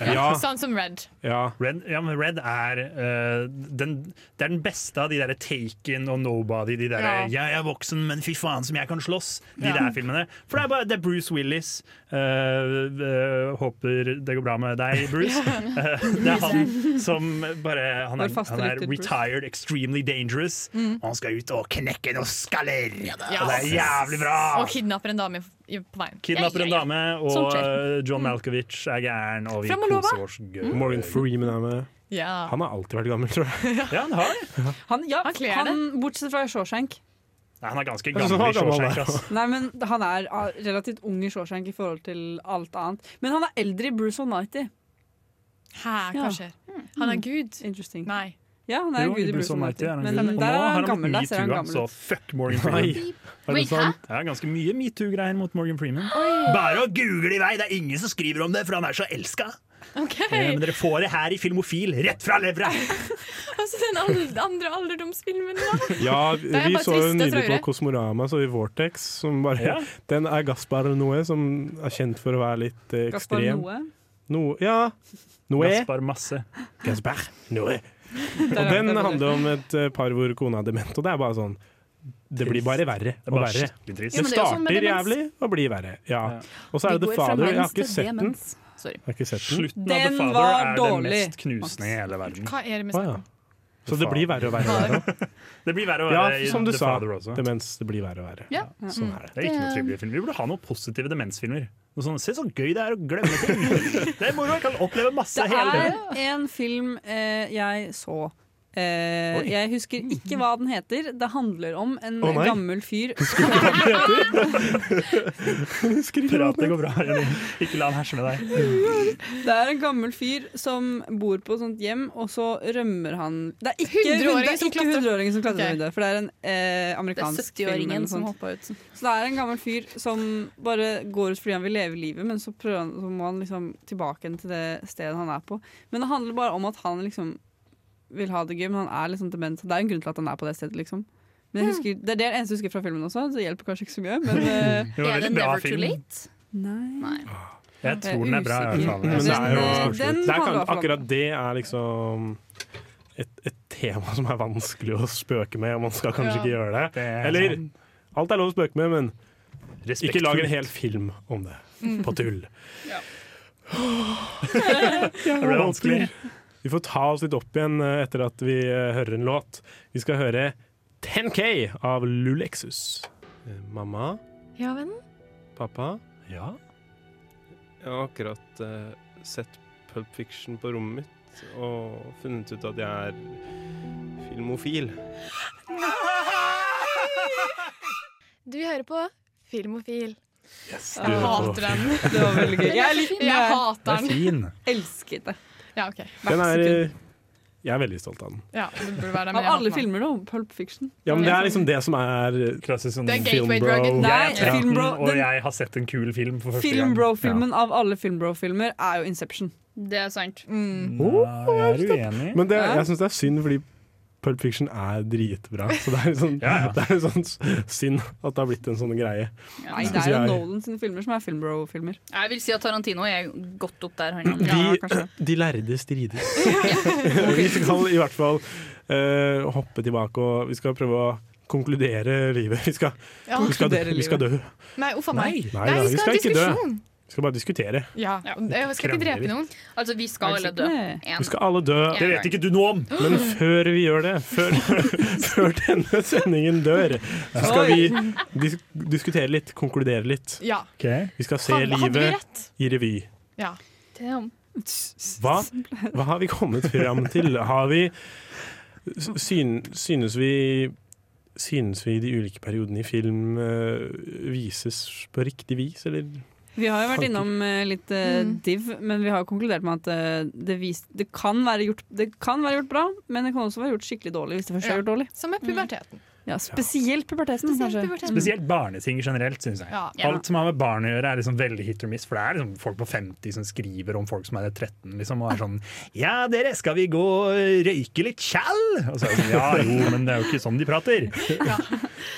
S1: Ja.
S9: Sånn som Red.
S1: Red, ja, men Red er eh, den, Det er den beste av de der Taken og Nobody. De der
S19: Ja.
S1: 'jeg er voksen, men fy faen som jeg kan slåss'. De
S19: Ja.
S1: der filmene. For det er, bare, det er Bruce Willis. Eh, eh, håper det går bra med deg, Bruce.
S19: Ja.
S1: Eh, det er han som bare Han er,
S19: Vår faste
S1: han er
S19: lytter, Bruce.
S1: retired, extremely dangerous.
S9: Mm.
S1: Og han skal ut og knekke noen skaller!
S9: Ja.
S1: Og det er jævlig bra!
S7: Ah.
S9: Og kidnapper en dame i- på veien.
S1: Kidnapper en
S9: Ja, ja,
S1: dame,
S9: ja.
S1: og
S9: Sånt skjer.
S1: eh, John Malkovich er gæren. Og vi
S9: Fram og lova.
S1: koser oss gøy.
S7: Morgan Freeman er med.
S9: Ja.
S7: Han har alltid vært gammel, tror jeg.
S1: Ja, han har det.
S4: Han, ja,
S9: kler
S4: han bortsett fra Shawshank.
S1: Nei, han er ganske
S7: Jeg synes han
S1: gammel
S7: var
S1: i
S7: gammel,
S1: Shawshank.
S7: da.
S1: ass.
S4: Nei, men han er ah, relativt ung i Shawshank i forhold til alt annet. Men han er eldre i Bruce Almighty.
S9: Hæ, hva
S4: Ja.
S9: skjer?
S7: Mm.
S9: Han er gud. Nei.
S4: Ja, han er
S1: Jo,
S4: jo gud i Bruce Almighty. Men
S1: Og
S4: der
S1: nå
S4: er
S1: har han
S4: han gammel.
S1: fått
S4: Der ser han
S1: metoo-a,
S4: gammel
S1: så
S4: ut.
S1: fuck Morgan Freeman.
S7: Nei.
S1: Er det
S4: Wait, hæ?
S1: sant? Ja, ganske mye metoo-greier mot Morgan Freeman. Bare å google i vei, det er ingen som skriver om det, for han er så elska. Eh, Men dere får det her i Filmofil, rett fra levra!
S9: Altså den ald- andre alderdomsfilmen, da.
S7: Ja,
S9: Da er jeg
S7: vi
S9: bare
S7: så jo
S9: trist, jeg
S7: nylig
S9: tror
S7: på
S9: det.
S7: Kosmorama, så i Vortex, som bare
S1: Ja.
S7: Den er Gaspar Noé, som er kjent for å være litt eh,
S4: Gaspar
S7: ekstrem.
S4: Noe.
S7: No, ja. Noé.
S1: Gaspar Masse.
S7: Gaspar Noé. Og
S4: Der er
S7: den
S4: det.
S7: handler om et eh, par hvor kona er dement, og det er bare sånn Det blir bare verre
S1: er
S7: og
S1: bare
S7: verre.
S1: skikkelig
S7: Det
S1: trist. Ja, men det er jo sånn med
S7: starter
S1: demens.
S7: jævlig og blir verre. Ja. Og så er
S10: Vi
S7: det The
S10: går fra
S7: Father. Jeg
S10: mens
S7: har ikke
S10: til
S7: sett den.
S10: demens. Sorry.
S7: Jeg har ikke sett den.
S1: Slutten av The
S10: Den
S1: Father
S10: var
S1: er
S10: dårlig,
S1: den mest knusende i hele verden.
S9: Hva er det med
S7: Å, ja. Så det blir verre og verre. og verre.
S1: Det blir verre og
S7: Ja,
S1: verre i
S7: som du
S1: The
S7: sa.
S1: Father også.
S7: Demens, det blir verre og verre.
S9: Ja.
S7: Sånn er det.
S1: Det er ikke noe trivelige filmer. Vi burde ha noen positive demensfilmer. Noe sånn, Se så gøy det er å glemme ting! Det er moro, jeg kan oppleve masse
S4: Det
S1: hele
S4: er
S1: tiden.
S4: en film eh, jeg så. Eh,
S1: Oi.
S4: jeg husker ikke hva den heter. Det handler om en
S1: Å, nei.
S4: gammel fyr
S1: Prat, det går bra. Jenny. Ikke la han herse med deg.
S4: Det er en gammel fyr som bor på et sånt hjem, og så rømmer han Det er ikke
S10: 100-åringen
S4: det er
S10: som
S4: ikke
S10: klatrer.
S4: 100-åringen som klatrer
S10: Ok.
S4: over vinduet, for det er en eh,
S10: Det er
S4: amerikansk film.
S10: 70-åringen
S4: eller noe
S10: som
S4: sånt.
S10: hoppa ut.
S4: Så det er en gammel fyr som bare går ut fordi han vil leve livet, men så, prøver han, så må han liksom tilbake igjen til det stedet han er på. Men det handler bare om at han liksom vil ha det gøy, men han er liksom dement. Så det er en grunn til at han er på det stedet, liksom. Men jeg husker, det er det eneste jeg husker fra filmen også, så det hjelper kanskje ikke så mye. Men, eh,
S1: Det var en veldig bra film.
S4: Nei.
S1: Jeg tror den er bra. i hvert fall.
S7: Men det er jo
S4: den
S7: det er
S4: handler i
S7: kan,
S4: hvert fall om-
S7: Akkurat det er liksom et, et tema som er vanskelig å spøke med, og man skal kanskje
S1: Ja.
S7: ikke gjøre det.
S1: er sånn-
S7: Eller
S1: sant.
S7: alt er lov å spøke med, men ikke lag en
S1: Respektfullt.
S7: hel film om det.
S1: Mm.
S7: På tull.
S1: Det ble vanskelig.
S7: Vi får ta oss litt opp igjen eh, etter at vi eh, hører en låt. Vi skal høre 10K av Lulexus. Eh, Mamma?
S9: Ja, vennen?
S7: Pappa? Ja? Jeg har akkurat eh, sett Pulp Fiction på rommet mitt og funnet ut at jeg er filmofil.
S9: Du hører på Filmofil.
S7: du hører på
S9: jeg hater den.
S7: Filmofil. Det var veldig gøy.
S9: Jeg,
S7: Jeg likte den.
S9: hater
S7: Det
S9: den.
S7: er fin.
S4: Elsket det.
S9: Ja, ok.
S7: Den er eh, Jeg er veldig stolt av den.
S9: Ja, det burde være
S4: Av
S9: den, men jeg hater
S4: alle
S9: den.
S4: filmer, da. Pulp Fiction.
S7: Ja, men Det er liksom det som er
S1: Klassisk sånn
S4: Det er gateway drug. Nei,
S1: Jeg er 13,
S4: filmbro-
S1: og
S4: den-
S1: jeg har sett en kul film for første gang.
S4: Filmbro-filmen av alle Filmbro-filmer er jo Inception.
S10: Det er sant.
S9: Mm.
S1: jeg er uenig.
S7: Men det, jeg syns det er synd, fordi Pulp Fiction er dritbra. Så det er litt sånn, Det er litt sånn s- synd at det har blitt en sånn greie.
S4: Nei, det
S7: Synes
S4: er jo
S7: jeg.
S4: Nolan sine filmer som er Filmbro-filmer.
S10: Jeg vil si at Tarantino er godt opp der. Han.
S7: De, de lærde strides. vi skal i hvert fall eh, hoppe tilbake, og vi skal prøve å konkludere livet. Vi skal,
S9: Ja.
S7: vi skal,
S9: Konkludere
S7: vi skal dø.
S9: Nei, uff a meg.
S7: Nei, nei, vi skal ikke dø. Vi skal bare diskutere.
S9: Ja. Jeg skal ikke drepe noen.
S10: Altså, vi skal alle dø. En.
S7: Vi skal alle dø.
S10: Det vet ikke
S1: du noe om!
S7: Men før vi gjør det, før, før denne sendingen dør, så skal vi dis diskutere litt, konkludere litt.
S9: Ja.
S7: Vi skal se
S9: Hadde- hadde vi
S7: livet
S9: rett?
S7: i revy.
S9: Ja.
S7: Hva, hva har vi kommet fram til? Har vi s- syn, Synes vi Synes vi de ulike periodene i film eh, vises på riktig vis, eller?
S4: Vi har jo vært
S7: Fanken.
S4: innom eh, litt eh, div, men vi har konkludert med at eh, det, vis, det, kan være gjort, det kan være gjort bra, men det kan også være gjort skikkelig dårlig hvis det først er gjort dårlig.
S9: Som med puberteten.
S4: Ja, spesielt puberteten, kanskje.
S1: Spesielt barneting generelt, syns jeg.
S9: Ja.
S1: Alt som har med barn å gjøre, er liksom veldig hit or miss. For det er liksom folk på 50 som skriver om folk som er 13, liksom, og er sånn Ja, dere, skal vi gå og røyke litt tjall? Og så er det sånn, ja jo, men det er jo ikke sånn de prater.
S7: Ja,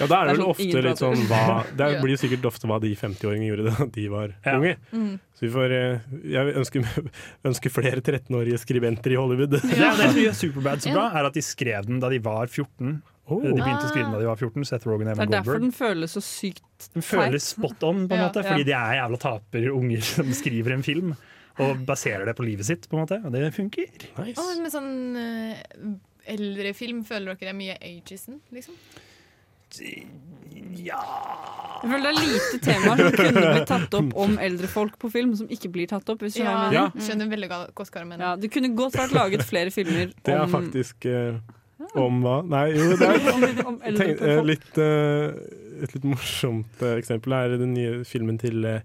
S7: da er
S1: Det
S7: det
S1: er
S7: vel
S1: sånn
S7: ofte
S1: ingen
S7: litt
S1: prater.
S7: sånn hva Det
S1: Ja.
S7: blir jo sikkert ofte hva de 50-åringene gjorde da de var unge.
S1: Mm.
S7: Så vi får eh, Jeg ønsker, ønsker flere 13-årige skribenter i Hollywood.
S1: Det er det som gjør Superbad så bra, er at de skrev den da de var 14.
S7: Oh.
S1: De begynte å skrive den da de var 14, Seth Rogen og
S4: Det
S1: Evan
S4: er derfor
S1: Goldberg.
S4: den føles så sykt
S1: Den føles spot on, på en
S4: Ja.
S1: måte,
S4: Ja.
S1: fordi de er jævla taperunger som skriver en film. Og baserer det på livet sitt, på en måte. Og det funker.
S9: Å, men med sånn eh, eldre film, føler dere det er mye ageisen, liksom?
S4: Jeg føler det er lite temaer som kunne blitt tatt opp om eldre folk på film, som ikke blir tatt opp. Hvis du
S9: Ja,
S4: har
S7: Ja.
S4: mening.
S9: skjønner veldig godt hva du mener.
S4: Ja, det kunne godt vært laget flere filmer
S7: Det er
S4: om
S7: faktisk eh,
S1: Mm.
S7: om hva Nei, jo, det er
S4: om eldre
S7: tenk, eh, litt, eh, Et litt morsomt eh, eksempel er den nye filmen til eh,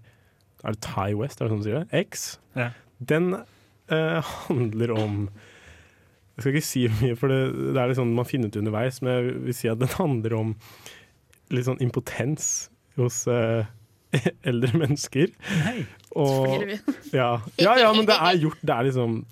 S7: Er det Ty West, er det sånn du sier det? X.
S1: Ja.
S7: Den eh, handler om Jeg skal ikke si mye, for det, det er litt sånn man finner ut underveis, men jeg vil si at den handler om litt sånn impotens hos eh, eldre mennesker. Og,
S19: Selvfølgelig.
S7: ja. ja, ja, men det er gjort Det er liksom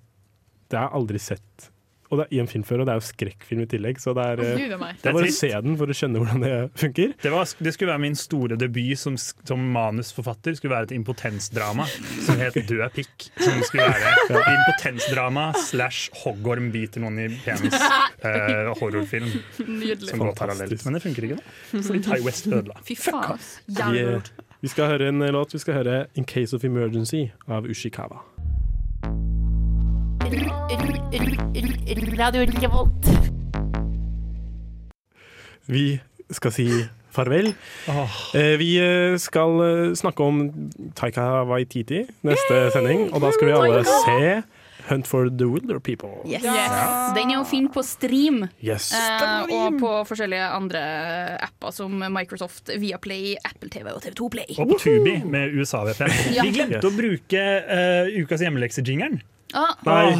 S7: Det er aldri sett Og det er i en film før, og det er jo skrekkfilm i tillegg, så det er, eh,
S9: Gud a meg.
S7: det er bare å
S1: trist.
S7: se den for å skjønne hvordan det funker.
S1: Det, var, det skulle være min store debut som, som manusforfatter. skulle være et impotensdrama som het 'Død er pikk'. Som skulle være et impotensdrama slash hoggorm biter noen i penis. Eh, horrorfilm.
S19: Nydelig.
S1: Som går parallelt. Men det funker ikke, da. Fordi Ty West ødela.
S19: Fy faen.
S7: Vi, eh, vi skal høre en eh, låt. Vi skal høre 'In Case of Emergency' av Ushikawa.
S17: Radio Revolt.
S7: Vi skal si farvel. Eh, vi eh, skal eh, snakke om Taika Waititi neste sending, og da skal vi alle
S10: Taika!
S7: se 'Hunt for the Wilder People'.
S10: Yes.
S7: Ja.
S10: Den er jo fin på stream.
S7: Yes.
S10: Eh, og på forskjellige andre apper som Microsoft, Viaplay, Apple TV og TV2 Play.
S1: Og på Tubi med USA-VPN.
S10: Ja.
S1: Vi glemte å bruke eh, ukas hjemmeleksejingeren.
S10: Ah.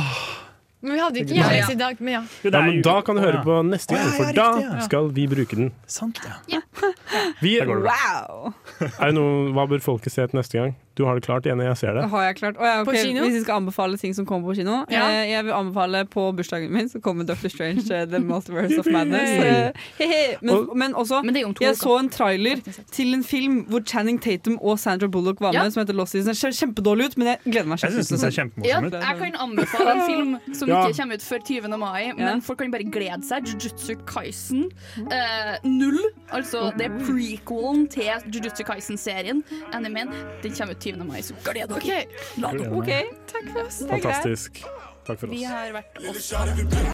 S9: Men vi hadde ikke
S1: Ja, ja.
S9: hjemmelekse i dag, men ja.
S7: Ja, men da kan du høre
S1: Ah.
S7: på neste gang,
S9: Å, ja, ja,
S7: for da
S9: riktig, ja.
S7: skal vi bruke den.
S1: Sant, ja.
S7: Vi,
S1: Da går det bra.
S7: Er det noe, hva bør folket se til neste gang? Du har det klart, Jenny. Jeg ser det.
S4: Det har jeg klart. Å, ja,
S10: På
S4: ok,
S10: kino?
S4: Hvis jeg skal anbefale ting som kommer på kino
S10: Ja.
S4: eh, Jeg vil anbefale på bursdagen min så kommer Dr. Strange eh, The Multiverse of
S10: Yippee!
S4: Madness. Eh, hehe. Men, men også, jeg
S10: uker.
S4: så en trailer til en film hvor Channing Tatum og Sandra Bullock var med, som heter Lost Season. Den ser kjempedårlig ut, men jeg gleder meg
S1: Jeg synes den ser kjempemorsom
S10: Ja,
S1: ut.
S10: jeg kan anbefale en film som
S1: Ja.
S10: ikke kommer ut før 20. mai, men folk kan bare glede seg. Jujutsu Kaisen eh, null. Altså, det er prequelen til Jujutsu Kaisen-serien. Animen. Den kommer ut 20. mai, så gled dere.
S9: Ok.
S10: La dere.
S9: Ok, takk for oss. Det er greit.
S7: Fantastisk. Takk for oss.
S10: Vi har vært oss.